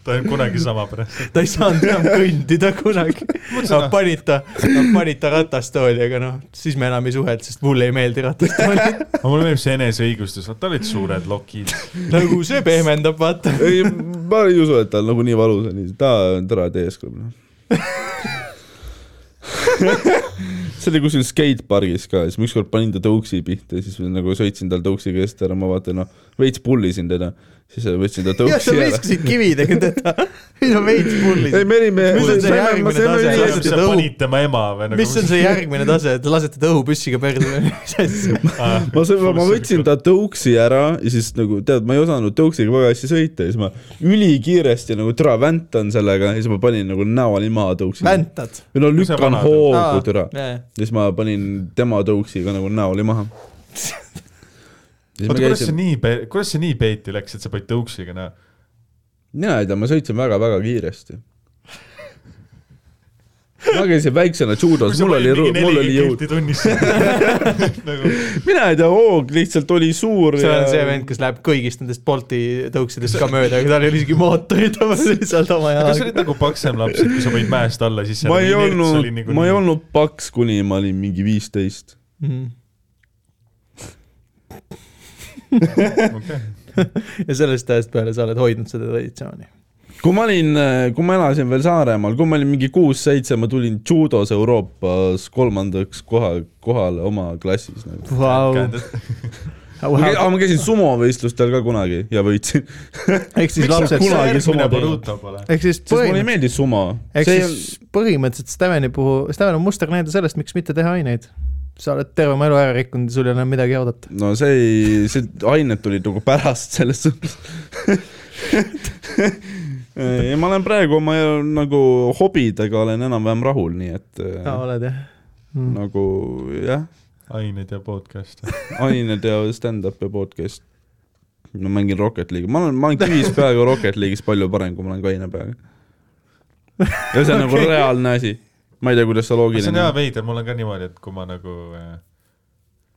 C: ta on kunagi sama pärast .
B: ta ei saanud enam kõndida kunagi . Nad panid ta , nad panid ta ratastooli , aga noh , siis me enam ei suhelnud , sest mulle ei meeldi ratastoolid .
C: aga mulle meeldib see eneseõigustus , vaata olid suured lokid .
B: nagu see pehmendab , vaata .
A: ei , ma ei usu , et tal nagu nii valus oli , ta on tore teeskleb , noh . see oli kuskil skatepargis ka , siis ma ükskord panin ta tõuksi pihta ja siis nagu sõitsin tal tõuksi käest ära , ma vaatan , noh , veits pullisin teda , siis võtsin ta
B: jah , sa
A: tõuksi ära .
B: viskasid kividega teda . siis on veits
A: ei ,
B: pullis .
A: me olime
B: Mis on see , järgmine tase?
A: me
B: Lasid
C: sa
B: teda õhu-
C: panid tema ema või nagu .
B: mis on see järgmine tase , et lasete ta õhupüssiga perse või mis asja ?
C: Ah.
A: ma sõin , ma võtsin . ta tõuksi ära ja siis nagu tead , ma ei osanud tõuksiga väga hästi sõita ja siis ma ülikiiresti nagu türa väntan sellega ja siis ma panin nagu näoli maha tõuksi .
B: väntad ?
A: või no
C: sa
A: lükkan
C: paned?
A: hoogu Oh, türa .
B: jaa.
A: ja siis ma panin tema tõuksiga nagu näoli maha .
C: oota , kuidas see nii , kuidas see nii peeti läks , et sa panid noh. tõuksiga näo ?
A: mina ei tea , ma sõitsin väga-väga kiiresti . ma käisin väiksena judos , mul oli , mul oli jõud .
C: tunnis . nagu
A: mina ei tea , hoog lihtsalt oli suur .
B: see on see vend , kes läheb kõigist nendest Bolti tõuksidest ka mööda , aga tal ei ole isegi mootorit , ta oli lihtsalt oma
C: aga sa
B: jalaga .
C: olid nagu paksem laps , et kui sa panid mäest alla , siis
A: ma ei olnud ,
C: nagu
A: ma ei . olnud paks , kuni ma olin mingi
B: Mhm.
A: viisteist .
C: Okay.
B: ja sellest ajast peale sa oled hoidnud seda traditsiooni .
A: kui ma olin , kui ma elasin veel Saaremaal , kui ma olin mingi kuus-seitse , ma tulin judos Euroopas kolmandaks koha , kohale oma klassis nagu .
B: Vau ,
A: aga ma käisin sumovõistlustel ka kunagi ja võitsin ,
B: ehk siis
A: Miks sa
B: lapsed ,
A: kunagi sumo
C: järgmine
A: teinud?
C: Boruto pole .
B: ehk siis
A: sest mulle ei
B: põhimõtteliselt ,
A: meeldi sumo .
B: ehk siis põhimõtteliselt Steveni puhul , Steven on musternäide sellest , miks mitte teha aineid . sa oled terve oma elu ära rikkunud ja sul ei ole enam midagi oodata .
A: no see ei , see ained tulid nagu pärast selles suhtes ja ma olen praegu oma nagu hobidega olen enam-vähem rahul , nii et
B: sa
A: no.
B: oled jah mm. .
A: nagu jah ,
C: ained ja podcast .
A: ained ja stand-up ja podcast . ma mängin Rocket League'i , ma olen , ma olen kivis peaga Rocket League'is palju parem , kui ma olen kaine peaga . ja see on nagu reaalne asi . ma ei tea , kuidas see
C: see on
A: loogiline
C: hea
A: on .
C: veider , mul on ka niimoodi , et kui ma nagu äh,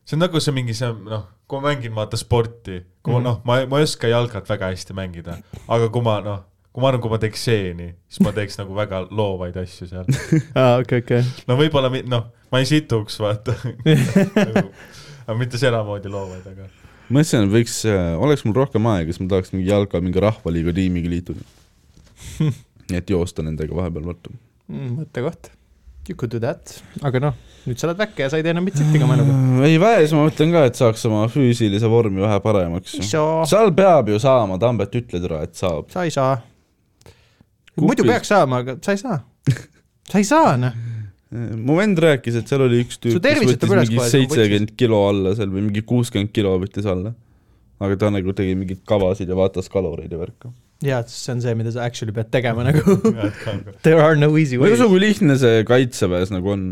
C: see on nagu see mingi see noh , kui ma mängin vaata sporti , kui ma
B: Mhm.
C: noh , ma , ma ei oska jalgat väga hästi mängida , aga kui ma noh , kui ma arvan , kui ma teeks seeni , siis ma teeks nagu väga loovaid asju seal .
B: aa , okei , okei .
C: no võib-olla mi- noh , ma ei situks vaata Nagu- aga mitte sedamoodi loovaid , aga
A: ma mõtlesin , et võiks , oleks mul rohkem aega , siis ma tahaks mingi jalka mingi rahvaliiga tiimiga liituda . nii et joosta nendega vahepeal võtta . Mm,
B: mõttekoht . You could do that , aga noh , nüüd sa oled väkke ja sa ei tee enam mitte
A: Mm.
B: sittigi oma eluga .
A: Äh, ei väes , ma mõtlen ka , et saaks oma füüsilise vormi vähe paremaks .
B: sa
A: seal peab ju saama , Tambet , ütle tere , et saab .
B: ei saa . muidu
A: Kupis.
B: peaks saama , aga sa ei saa . sa ei saa , noh .
A: mu vend rääkis , et seal oli üks
B: Su
A: tüüp , kes
B: tervis
A: võttis
B: võtab üles
A: mingi
B: kohe, kui ma
A: seitsekümmend kilo alla seal või mingi kuuskümmend kilo võttis alla . aga ta nagu tegi mingeid kavasid ja vaatas kaloreid ja värka .
B: jaa , see on see , mida sa actually pead tegema nagu .
C: head ka aga
B: There are no easy
A: ma ei
B: ways
A: usu ,. kui lihtne see kaitseväes nagu on .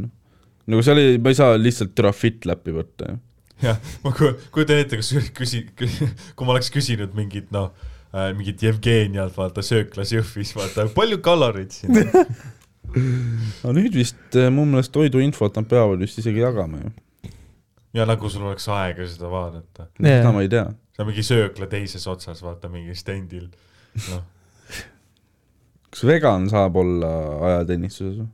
A: nagu seal ei , ma ei saa lihtsalt tere fit läpi võtta ju
C: jah , ma ku- kujutan ette , kus küsi- , kui ma oleks küsinud mingit noh , mingit Jevgenialt vaata sööklas Jõhvis vaata , palju kaloreid siin on
A: aga nüüd vist eh, mu meelest toiduinfot nad peavad vist isegi jagama ju .
C: ja nagu sul oleks aega seda vaadata .
B: Jaa.
A: seda ma ei tea .
C: seal mingi söökla teises otsas vaata mingi stendil , noh ,
A: kas vegan saab olla ajateenistuses või ?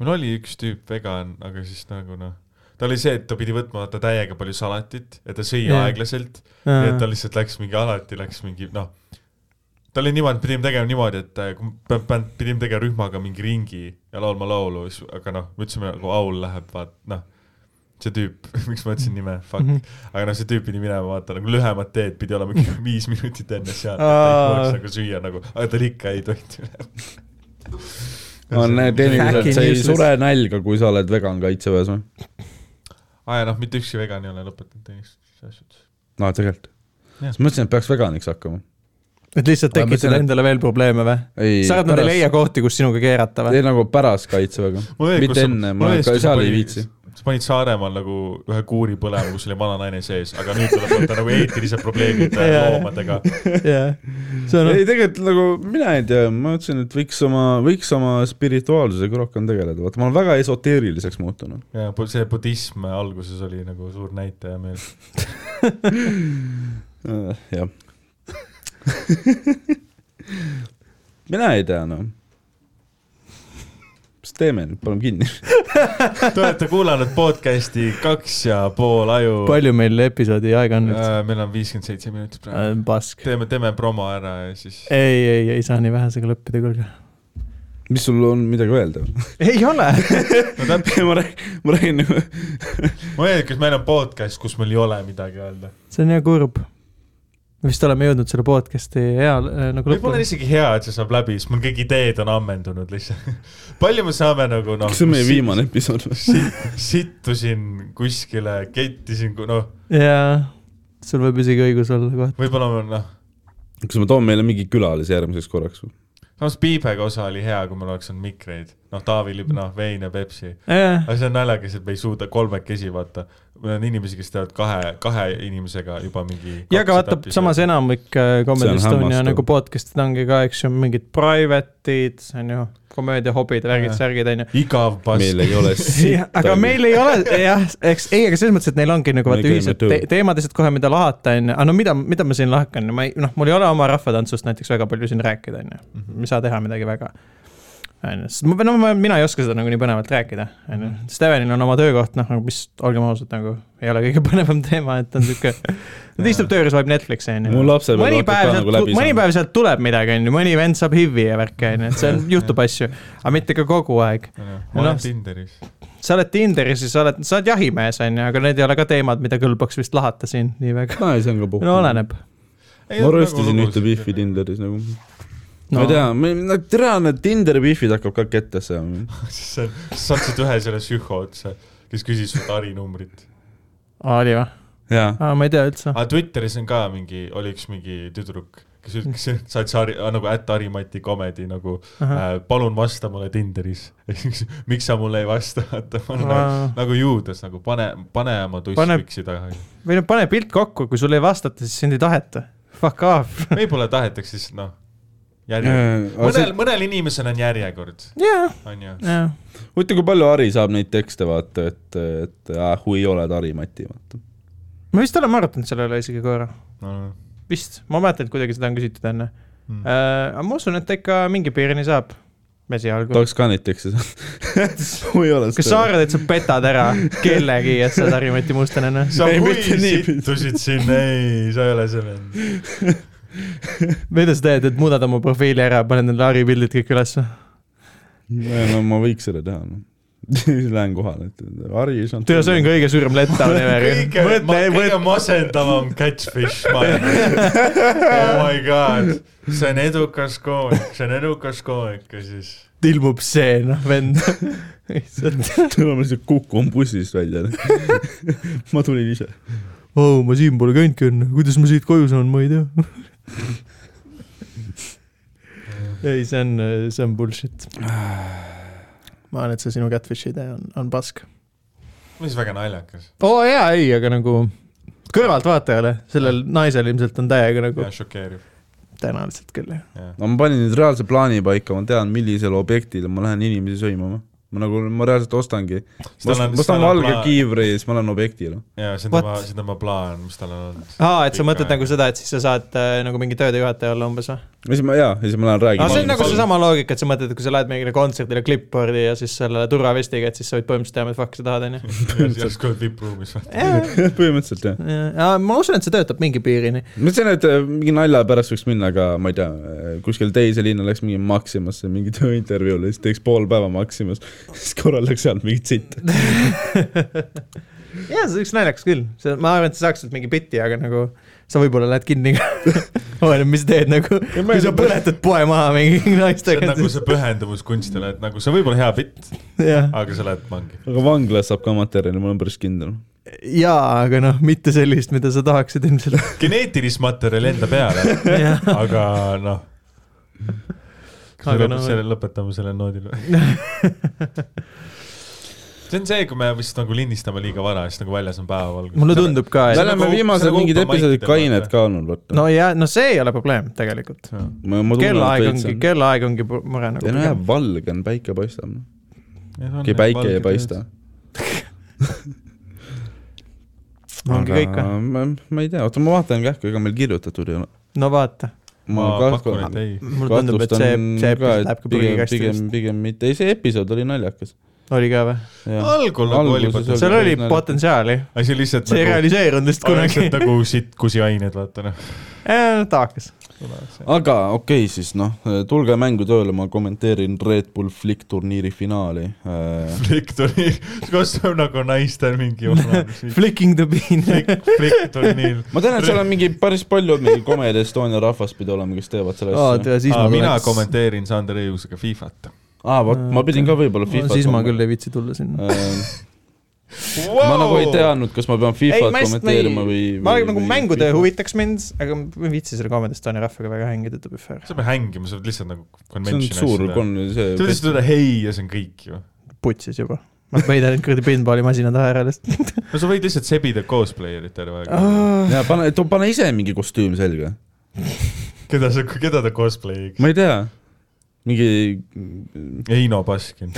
C: mul oli üks tüüp vegan , aga siis nagu noh , ta oli see , et ta pidi võtma vaata täiega palju salatit ja ta sõi
B: Jaa.
C: aeglaselt , nii et ta lihtsalt läks mingi alati läks mingi noh , ta oli niimoodi , pidime tegema niimoodi , et äh, kui me pe- pe- pidime tegema rühmaga mingi ringi ja laulma laulu , siis aga noh , me ütlesime nagu Aul läheb , vaat noh , see tüüp , miks ma ütlesin nime , fuck , aga noh , see tüüp pidi minema vaata nagu lühemat teed pidi olema mingi viis minutit enne seal , et ta
B: Aa.
C: ei saaks nagu süüa nagu , aga tal ikka ei tohtinud .
A: on need inimesed ,
B: Fucking
A: sa ei
B: useless.
A: sure nälga , kui sa oled vegan kaitseväes või ?
C: aa ja noh , mitte ükski vegan ei ole lõpetanud teenistuses ja asjades .
A: aa , tegelikult .
C: Jah.
A: siis mõtlesin , et peaks veganiks hakkama .
B: et lihtsalt
A: Aga ma
B: tekitada
A: ütlen, et-
B: endale veel probleeme või ?
A: ei ,
B: sa arvad , nad ei leia kohti , kus sinuga keerata või ?
A: ei nagu pärast kaitseväega . mitte enne , ma ka seal ei viitsi ..
C: sa panid Saaremaal nagu ühe kuuri põlema , kus oli vana naine sees , aga nüüd tuleb võtta nagu eetilised probleemid äh,
B: Jaa.
C: loomadega .
B: jah , see on noh,
A: ei , tegelikult nagu mina ei tea , ma mõtlesin , et võiks oma , võiks oma spirituaalsusega rohkem tegeleda , vaata ma olen väga esoteeriliseks muutunud .
C: ja bu- see budism alguses oli nagu suur näitaja meil .
A: Äh, jah . mina ei tea , noh . mis teeme nüüd , paneme kinni .
C: Te olete kuulanud podcast'i Kaks ja pool aju .
B: palju meil episoodi aega on nüüd ?
C: meil on viiskümmend seitse minutit
A: Äh,
C: praegu .
B: pask . ei ,
C: teeme , teeme promo ära ja siis .
A: Eh.
B: ei , ei saa nii vähesega lõppida , kuulge .
A: mis sul on midagi öelda ?
B: ei ole .
C: no täpselt ,
A: ma räägin , ma räägin nagu ,
C: ma ei tea , kas meil on podcast , kus meil ei ole midagi öelda .
B: see on jah kurb . me vist oleme jõudnud selle podcast'i hea äh, nagu
C: võib-olla on
B: lõpuni .
C: isegi hea , et see saab läbi , sest mul kõik ideed on ammendunud lihtsalt . palju me saame nagu noh .
A: kas see on meie viimane episood või ?
C: sit- sittusin kuskile , kettisin , noh ,
B: jaa , sul võib isegi õigus olla kohe .
C: võib-olla ma noh ,
A: kas ma toon meile mingi külalise järgmiseks korraks või ?
C: samas Piibega osa oli hea , kui meil oleks olnud mikreid , noh , Taavi Lipp , noh , vein ja Pepsi .
B: jah ,
C: aga see on naljakas , et me ei suuda kolmekesi , vaata , meil on inimesi , kes teevad kahe , kahe inimesega juba mingi .
B: aga vaata , samas enamik äh,
A: See
B: Comedy
A: on
B: Estonia
A: hämmastav.
B: nagu podcast'id ongi ka , eks ju , mingid private'id , on ju , komöödiahobid , värgid ,
C: Jaa.
B: särgid , on ju .
C: igav
A: meil
C: pask .
A: ei ole
B: Jah, aga meil ei ole jah , eks ei , aga selles mõttes , et neil ongi nagu
A: Me
B: vaata
A: käime
B: ühised
A: tööl.
B: te teemad lihtsalt kohe , mida lahata on ju , aga no mida , mida ma siin lahkan , ma ei , noh , mul ei ole oma rahvatantsust näiteks väga palju siin rääkida on ju , ei saa teha midagi väga . onju , sest ma pean , no ma , mina ei oska seda nagu nii põnevalt rääkida , onju .
A: Mhm.
B: Stevenil on oma töökoht , noh , nagu mis , olgem ausad , nagu ei ole kõige põnevam teema , et ta on siuke , ta istub tööres , loeb Netflixi ,
A: mu
B: onju .
A: lapsepõlv
B: mõni
A: hakkab
B: päev
A: ka nagu
B: sealt ,
A: läbi
B: mõni päev sealt tuleb midagi , onju , mõni vend saab HIV-i ja värki , onju , et seal juhtub asju , aga mitte ka kogu aeg .
C: ma olen
B: Noh,
C: Tinderis .
B: sa oled Tinderis ja sa oled , sa oled jahimees , onju , aga need ei ole ka teemad , mida kõlbaks vist lahata siin nii väga .
A: saama . see on ka puhk
B: no . oleneb .
C: nagu
A: ma röstisin ühte biifi . Tinderis nagu no. . ma
B: No.
A: ei tea , me , no tere , need Tinderi biifid hakkab ka kette saama .
C: sa sattusid ühe selle psühho otsa , kes küsis su tari numbrit .
B: oli vä ?
A: jaa .
B: aa , ma ei tea üldse .
C: aga Ah, Twitteris on ka mingi , oli üks mingi tüdruk , kes ütles , sa oled sari , nagu ätt Harimati komedi nagu
B: Ah.
C: äh, palun vasta mulle Tinderis . miks sa mulle ei vasta , vaata ma olen nagu,
B: Aa.
C: nagu juudes nagu pane , pane oma
B: Pane-
C: tussipüksi taha .
B: või no pane pilt kokku , kui sulle ei vastata , siis sind ei taheta . Fuck off .
C: võib-olla tahetakse siis noh , järjekord . mõnel ,
A: oota ,
C: mõnel inimesel on järjekord ,
B: jaa ,
C: on ju .
B: jaa .
A: kui palju Ari saab neid tekste vaata , et , et ah , kui oled Ari Mati , vaata .
B: me vist oleme arutanud selle üle isegi korra ,
C: No,
B: vist , ma mäletan , et kuidagi seda on küsitud enne
C: Mm.
B: mm. . aga ma usun , et ta ikka mingi piirini saab , esialgu .
A: tahaks ka neid tekste saada . kui oled .
B: kas sa ? arvad , et sa petad ära kellegi , et sa oled Harri-Mati Mustanena ?
C: sa
A: Ei,
C: kui
A: mitte nii.
C: sittusid sinna , ei , sa ei ole see vend .
B: mida sa teed , et muudad oma profiili ära , paned need Harri pildid kõik ülesse ?
A: no ma võiks selle teha , noh Lähen kohale , et Ari ei saanud .
B: tule , see on kõige suurem letdown
C: kõige ,
B: ever .
C: kõige masendavam catfish ma olen . oh my god , see on edukas koomik , see on edukas koomik ja siis
B: ilmub see , noh , vend . lihtsalt ,
A: tuleme lihtsalt Kuku on bussist välja . ma tulin ise .
B: oo , Oh, ma siin pole käinudki enne , kuidas ma siit koju saan , ma ei tea . ei , see on , see on bullshit . ma arvan , et see sinu catfish'i idee on , on pask .
C: mis väga naljakas
B: oo oh, jaa , ei , aga nagu kõrvaltvaatajale , sellel naisel ilmselt on täiega nagu
C: ja šokeeriv .
B: tõenäoliselt küll , jah .
A: no ma panin nüüd reaalse plaani paika , ma tean , millisel objektil ma lähen inimesi sõimama . ma nagu , ma reaalselt ostangi . ma ostan- ma ostan valge . kiivri ja siis ma noh. lähen objektile .
C: ja see on tema ,
B: What?
C: see on tema plaan , mis tal on olnud .
B: aa , et sa
C: Ikka,
B: mõtled
C: jah.
B: nagu seda , et siis sa saad äh, nagu mingi tööde juhataja olla umbes või ?
A: ja siis ma , jaa , ja siis ma lähen räägin .
B: aga see on nagu
C: Palun.
B: seesama loogika , et sa mõtled , et kui sa lähed mingile kontserdile clipboard'i ja siis selle turvavestiga , et siis sa võid põhimõtteliselt teha , mida fuck sa tahad , onju .
C: järsku oled vipp-ruumis .
A: põhimõtteliselt jah .
B: ma usun , et see töötab mingi piirini .
A: ma mõtlesin , et äh, mingi nalja pärast võiks minna , aga ma ei tea , kuskil teise linna läks mingi Maximasse mingi tööintervjuule , siis teeks pool päeva Maximas , siis korra läks sealt mingit sitta .
B: jaa , see oleks naljakas küll , see , ma arvan , et sa saaksid mingi bitti , aga nagu sa võib-olla lähed kinni ka . oleneb , mis teed nagu , kui sa põletad poe maha mingi
C: see on
B: naistega .
C: nagu see pühendumus kunstile , et nagu see võib olla hea bitt ,
B: jah ,
C: aga sa lähed vangi .
A: aga vanglas saab ka materjali , ma olen päris kindel .
B: jaa , aga noh , mitte sellist , mida sa tahaksid ilmselt .
C: geneetilist materjali enda peale ,
B: jah ,
C: aga noh . kas
B: Aga
C: me lõpet-
B: no-
C: selle , lõpetame sellel noodil või ? see on see , kui me vist nagu lindistame liiga vara , siis nagu väljas on päevavalgus .
B: mulle tundub ka ,
A: me
B: et
C: Selle-
A: oleme
C: nagu- see
A: viimased
C: on
A: mingid
C: open mic
A: episoodid
C: teema,
A: kained
C: vaata.
A: ka olnud , vaata .
B: no ja , no see ei ole probleem tegelikult .
A: ma , ma tunnen , et
B: kellaaeg
A: veits
B: ongi ,
A: on .
B: kellaaeg ongi pu- mure
A: ei no jah
B: nagu .,
A: valge on , päike paistab . okei , päike ei paista .
B: ongi kõik või ?
A: ma , ma ei tea , oota , ma vaatan kähku , ega meil kirjutatud ei ole .
B: no vaata ,
C: ma
A: ma
C: pakun ,
A: kahtlustan
C: et ei .
B: mulle tundub , et see , see episood läheb ka
A: pigem ,
B: prügikasti
A: pigem
B: vist .,
A: pigem mitte , ei see episood oli naljakas .
B: oli ka või ?
C: algul nagu oli
A: Alguses
C: potentsiaal ,
B: seal oli
A: naljakas.
B: potentsiaali ,
C: aga see lihtsalt
B: see ei
C: nagu ,
B: realiseerunud lihtsalt
C: oleks
B: kunagi . Eh,
C: nagu sitkusi ained , vaata noh .
B: nagu- tahakas .
A: aga okei okay, , siis noh , tulge mängu tööle , ma kommenteerin Red Bull Flick turniiri finaali . Äh,
C: Flick tuli , kostub nagu naistel mingi .
B: Flicking the bean .
C: Flick tuli nii .
A: ma tean , et seal on mingi päris palju mingi Comedy Estonia rahvast pidi olema , kes teevad selle asja .
C: mina . kommenteerin Sander Õigusega Fifat .
A: aa , vot ma pidin ka võib-olla FIFA-t .
B: siis ma küll ei viitsi tulla sinna .
A: ma nagu ei . teadnud , kas ma pean
B: ei ,
A: FIFA-t
B: ma lihtsalt ei ,
A: kommenteerima või .
B: ma nagu mängutöö . huvitaks mind , aga ma ei viitsi selle Comedy Estonia rahvaga väga hängida , to be fair .
C: sa pead hängima , sa pead lihtsalt nagu
A: see on
C: konventsiooni
A: suur kon- , see .
C: sa pead lihtsalt öelda hei ja see on kõik ju .
B: putsis juba . ma peidan nüüd kuradi pinballi masina taha ära lihtsalt .
C: no sa võid lihtsalt sebida cosplayer'it terve aeg .
B: ma
A: ja pane , pane ise mingi kostüüm selga .
C: keda sa , keda ta cosplay'iks ?
A: ma ei tea . mingi
C: Heino Baskin .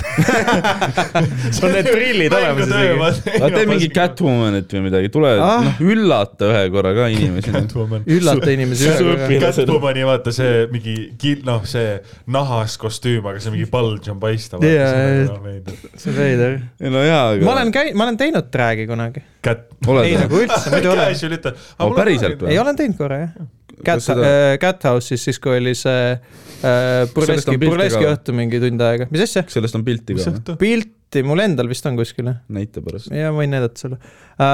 B: sul on need prillid olemas isegi .
A: aga tee mingi Catwomanit või midagi , tule
B: Ah.
A: ah. , noh , üllata ühe korra ka inimesi .
C: Catwoman .
B: üllata inimesi
A: Su-
B: ühe korraga .
C: Catwomani , vaata see mingi kil- , noh , see nahas kostüüm , aga see mingi bulge on paistav
B: Jaa, jaa. . see on veider .
A: ei no jaa , aga
B: ma olen käinud , ma olen teinud trag'i kunagi .
C: Cat .
B: ei
A: oled või ?
B: nagu üldse , muidu olen .
C: Casual ütle .
A: Aa, päriselt või?
B: ei , olen teinud korra jah . Cat
A: Kas seda- ,
B: Cat House'is siis , kui oli see äh,
A: Sellest on
B: burleski ,
A: pilti ka
B: burleski
A: või?
B: õhtu mingi tund aega . mis asja ?
A: kas sellest on pilti
C: mis
A: ka
C: see ? õhtu ?
B: pilti mul endal vist on kuskil jah ?
A: näita pärast .
B: ja võin näidata sulle uh, .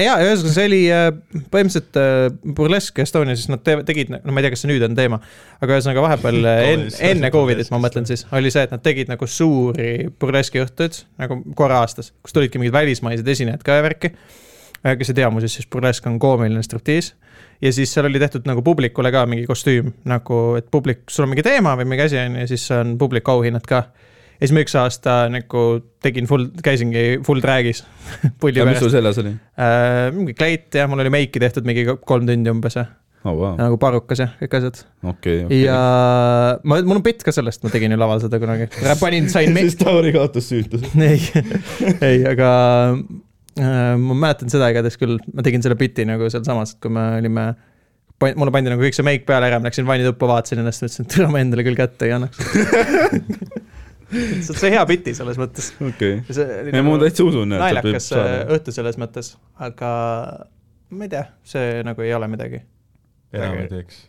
B: ja ühesõnaga see oli uh, põhimõtteliselt uh, Burlesque Estonia , siis nad te tegid , no ma ei tea , kas see nüüd on teema , aga ühesõnaga vahepeal äh, en,
C: Tollist
B: enne
C: asjad
B: Covidit ma
C: Burlesque'ist,
B: mõtlen siis , oli see , et nad tegid nagu suuri burleski õhtuid nagu korra aastas , kus tulidki mingid välismaised esinejad ka ja värki . kes ei tea muuseas , siis burlesk on koomiline striptiis ja siis seal oli tehtud nagu publikule ka mingi kostüüm nagu , et publik , sul on mingi teema või mingi asi on ju , siis on publiku auhinnad ka . ja siis ma üks aasta nagu tegin full , käisingi full drag'is pulli
A: aga mis
B: pärast
A: sul . seljas oli ?
B: Äh, mingi kleit jah , mul oli meiki tehtud mingi kolm tundi umbes jah ,
A: oh vau ,
B: nagu parukas jah , kõik asjad
A: okei ,
B: okay. .
A: okei .
B: ja ma , mul on bitt ka sellest , ma tegin ju laval seda kunagi , panin , sain me- ,
A: siis Tauri kaotas süütuse .
B: ei , ei , aga äh, ma mäletan seda igatahes küll , ma tegin selle biti nagu sealsamas , et kui me olime , mulle pandi nagu kõik see meik peale ära , ma läksin vannituppa , vaatasin ennast , mõtlesin , et türa ma endale küll kätte ei annaks . see on see hea biti selles mõttes .
A: okei .
B: see oli nagu
A: ei , ma täitsa usun , et sealt võib
B: naljakas äh,
A: saada .
B: õhtu selles mõttes , aga ma ei tea , see nagu ei ole midagi .
C: enam ei teeks .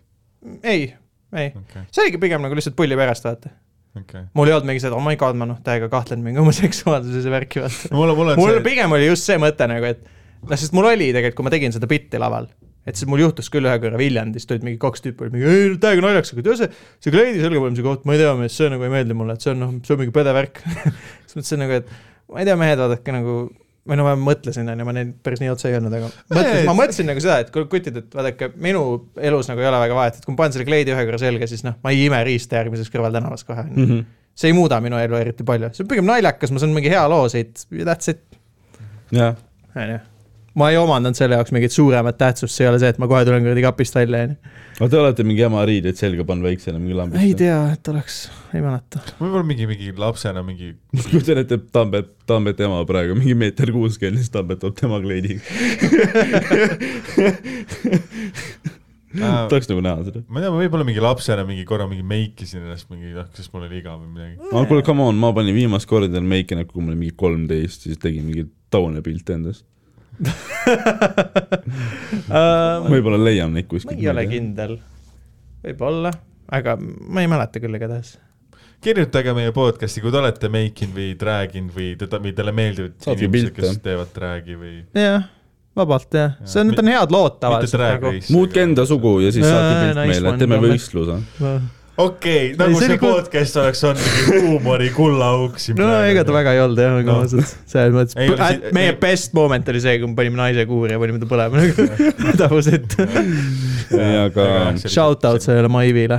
B: ei , ei ,
C: okei ,
B: see oligi pigem nagu lihtsalt pulli pärast , vaata .
C: okei .
B: mul ei olnud mingi seda , oh my god , ma noh , täiega kahtlen mingi oma seksuaalsuses ja värki , vaata .
C: mul , mul on
B: mul
C: see ,
B: pigem oli just see mõte nagu , et noh , sest mul oli tegelikult , kui ma tegin seda bitti laval , et siis mul juhtus küll ühe korra Viljandis tulid mingi kaks tüüpi , olid mingi ei no täiega naljakas , aga tead see , see kleidi selgapanemise koht , ma ei tea , mees , see nagu ei meeldi mulle , et see on noh , see on mingi pede värk . siis mõtlesin nagu , et ma ei tea , mehed , vaadake nagu või no ma mõtlesin , onju , ma neid päris nii otse ei öelnud , aga mõtlesin , ma mõtlesin nagu seda , et kuule kutid , et vaadake , minu elus nagu ei ole väga vahet , et kui ma panen selle kleidi ühe korra selga , siis noh , ma ei ime riista järgmiseks kõrvaltänavas kohe , onju .
A: Mhm.
B: see ei muuda minu elu eriti palju , see on pigem naljakas , ma saan mingi hea loo siit ja that's it ,
A: jah ,
B: onju . ma ei omandanud selle jaoks mingit suuremat tähtsust , see ei ole see , et ma kohe tulen kuradi kapist välja , onju .
A: aga te olete mingi jama riideid selga pannud väiksena mingi lambist ?
B: ei . tea , et oleks , ei mäleta .
C: võib-olla mingi , mingi lapsena mingi ,
A: kujutan ette , et Tambet , Tambet ema praegu mingi meeter kuuskümmend , siis Tambet tuleb tema kleidiga .
B: Ah,
C: ma ei
A: tahaks nagu näha seda .
C: tea , Äh, ma võib-olla mingi lapsena mingi korra mingi meikisin ennast mingi , noh , sest mul oli igav või midagi .
B: Mm.
A: aga kuule , come on , ma panin viimast korda endale meiki näkku , kui ma olin mingi kolmteist , siis tegin mingi taune pilt endast .
B: Äh,
A: võib-olla leiame neid
B: ma
A: kuskilt .
B: ei ole . kindel , võib-olla , aga ma ei mäleta küll igatahes .
C: kirjutage meie podcast'i , kui te olete meikinud või draginud või teda , või teile meeldivad
A: Saatke
C: inimesed ,
A: pilte.
C: kes teevad dragi või .
B: jah , vabalt jah , see on , need on head lood
C: mitte
B: tavaliselt
C: drag
B: nagu .
C: race .
A: muutke enda . sugu ja siis
B: Jaa,
A: saate
B: nice
A: pilt meile
B: one, ,
A: teeme
B: Tambet.
A: võistluse .
C: okei ,
B: Ei,
C: nagu
B: see
C: see
B: oli cool.
C: podcast oleks olnud mingi huumori kullaauk siin .
B: no ega ta väga ei olnud jah , aga
C: No.
B: ma ausalt , selles
C: Ei ole
B: mõttes
C: si- ,
B: meie
C: ei-
B: best moment oli see , kui me panime naise kuuri ja panime ta põlema nagu tavus , et
A: Ei, aga-
B: shout out . sellele Maivile ,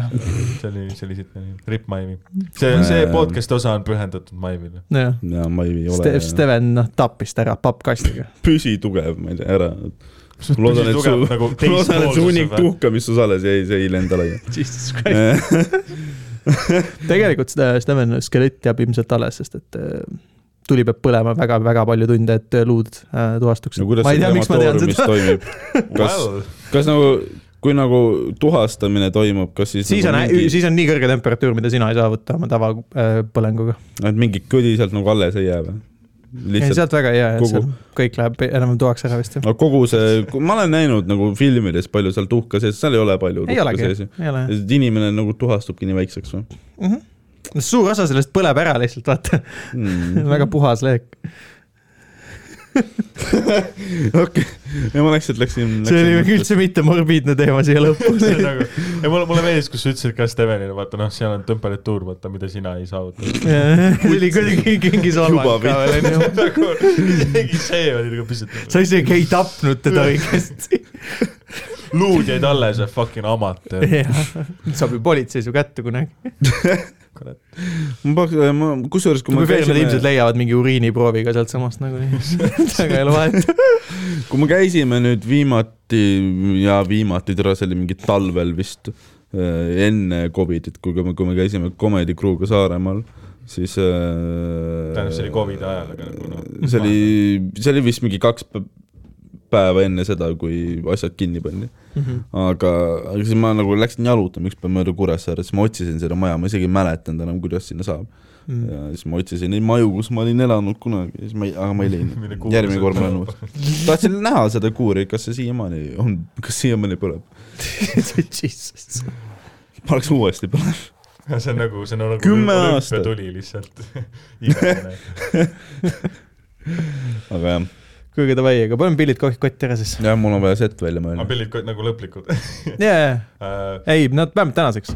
C: see oli , see oli siit , ripp Maivi . see , see
A: Ähm.
C: podcast'i osa on pühendatud Maivile .
B: jah .
A: ja ma ei
B: Ste- ,
A: ole
B: Steven , noh , tappis ta ära pappkastiga .
A: püsitugev , ma ei tea , ära . loodan , et su ,
C: nagu
A: loodan , et su hunnik . tuhka , mis su sales jäi , see ei lenda laiali .
B: Jesus Christ . tegelikult seda Steven skelett jääb ilmselt alles , sest et äh, tuli peab põlema väga-väga palju tunde , et äh, luud äh, tuvastuks
A: no kuidas
B: ma ei
A: see
B: tea , miks ma tean
A: krematooriumis
B: seda .
A: toimib ? kas ,
C: Well.
A: kas nagu , kui nagu tuhastamine toimub , kas siis
B: siis on
A: nagu , mingi ,
B: siis on nii kõrge temperatuur , mida sina ei saavuta oma äh, tavapõlenguga .
A: et mingi kõdi sealt nagu alles ei jää või ?
B: ei ,
A: lihtsalt ,
B: sealt väga ei jää , et
A: kogu-
B: seal kõik läheb enam-vähem tuhaks ära vist .
A: no kogu see , ma olen näinud nagu filmides palju seal tuhka sees , seal ei ole palju
B: ei
A: tuhka
B: olegi ,
A: sees ju .
B: ei ole jah
A: inimene nagu tuhastubki nii väikseks või
B: Mhm. No suur osa sellest põleb ära lihtsalt , vaata ,
A: mm. ?
B: väga puhas leek .
A: okei , ja ma läksin , läksin . nagu-
B: see oli üldse mitte morbiidne teema siia lõppu .
C: see on nagu , ei mulle , mulle meeldis , kus sa ütlesid ka Stevenile , vaata noh , seal on temperatuur , vaata mida sina ei saavuta .
B: see oli kuidagi kingi
A: Juba
B: solvang ka
A: pihta.
B: veel onju .
C: nagu isegi see oli nagu pisut .
B: sa isegi ei tapnud teda õigesti .
C: luud jäid alles , fucking amatöör .
B: saab ju politsei su kätte kunagi .
A: ma paks- , ma , kusjuures , kui ma äh,
B: veel nad ilmselt leiavad mingi uriiniprooviga sealtsamast nagunii . väga ei ole vahet .
A: kui me käisime nüüd viimati ja viimati , tore , see oli mingi talvel vist äh, enne Covidit , kui me , kui me käisime Comedy Crew'ga Saaremaal , siis tähendab
C: tähendab , see oli Covidi ajal , aga nagu noh .
A: see oli , see oli vist mingi kaks pä- päeva enne seda , kui asjad kinni pandi . aga , aga siis ma nagu läksin jalutama ükspäev mööda Kuressaaret , siis ma otsisin seda maja , ma isegi ei mäletanud enam , kuidas sinna saab .
B: Mm.
A: ja siis ma otsisin neid maju , kus ma olin elanud kunagi , siis ma ei , aga ma ei
C: Mille
A: leidnud .
C: kuur
A: järgmine
C: see
A: kord ma
C: põleb.
A: lähen uuesti . tahtsin näha seda kuuri , kas see siiamaani on , kas siiamaani põleb .
B: Jesus .
A: ma oleks uuesti põlev .
C: see on nagu , see on nagu
A: Kümme
C: olümpia
A: aastat.
C: tuli lihtsalt igavene .
A: aga jah ,
B: kuulge davai , aga paneme pillid kohe kotti ära siis .
A: jah , mul on vaja set välja
C: aga
A: mõelda .
C: pillid ko- nagu lõplikud . Äh,
B: jaa , ei , nad vähemalt tänaseks ,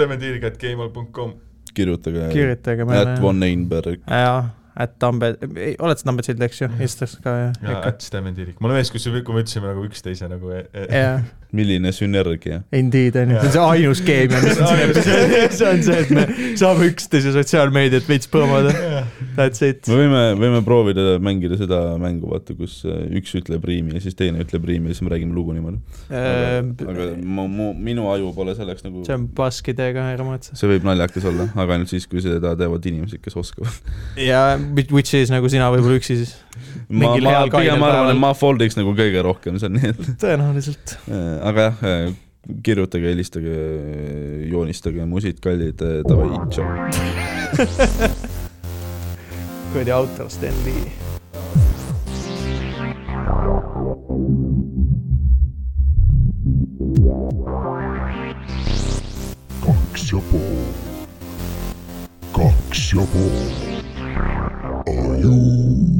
C: podcast.stemetiiriga.gmail.com
A: kirjutage .
B: kirjutage meile
A: Äh, At . Von Einberg .
B: jaa , at Tambed , oled sa Tambed Sild , eks ju , Instas ka
C: ja
B: ja .
C: at stemetiirik , mul on meeles , kui me ütlesime nagu üksteise nagu e . E
B: jaa ,
A: milline sünergia .
B: indeed on ju , see on see ainus keemia , mis on siin , see on see , et me saame üksteise sotsiaalmeediat veits põmmada ,
C: Jah.
B: that's it .
A: me võime , võime proovida mängida seda mängu , vaata , kus äh, üks ütleb riimi ja siis teine ütleb riimi ja siis me räägime lugu niimoodi . aga
B: see
A: mu , mu , minu aju pole selleks nagu ,
B: Äh, Ehm, on baskidega ära mõõtsa .
A: see võib naljakas olla , aga ainult siis , kui seda teevad inimesed , kes oskavad .
B: ja which is nagu sina võib-olla üksi siis .
A: ma ,
B: Mingil
A: ma
B: heal kainel
A: pigem arvan ,
B: päeval.
A: et ma foldiks nagu kõige rohkem seal , nii et
B: tõenäoliselt .
A: äh, aga jah äh, , kirjutage , helistage , joonistage , musid kallid , davai , tšau .
B: kuradi autor Sten Lee .
D: Kaks ja pool. Kaks ja pool. Aju.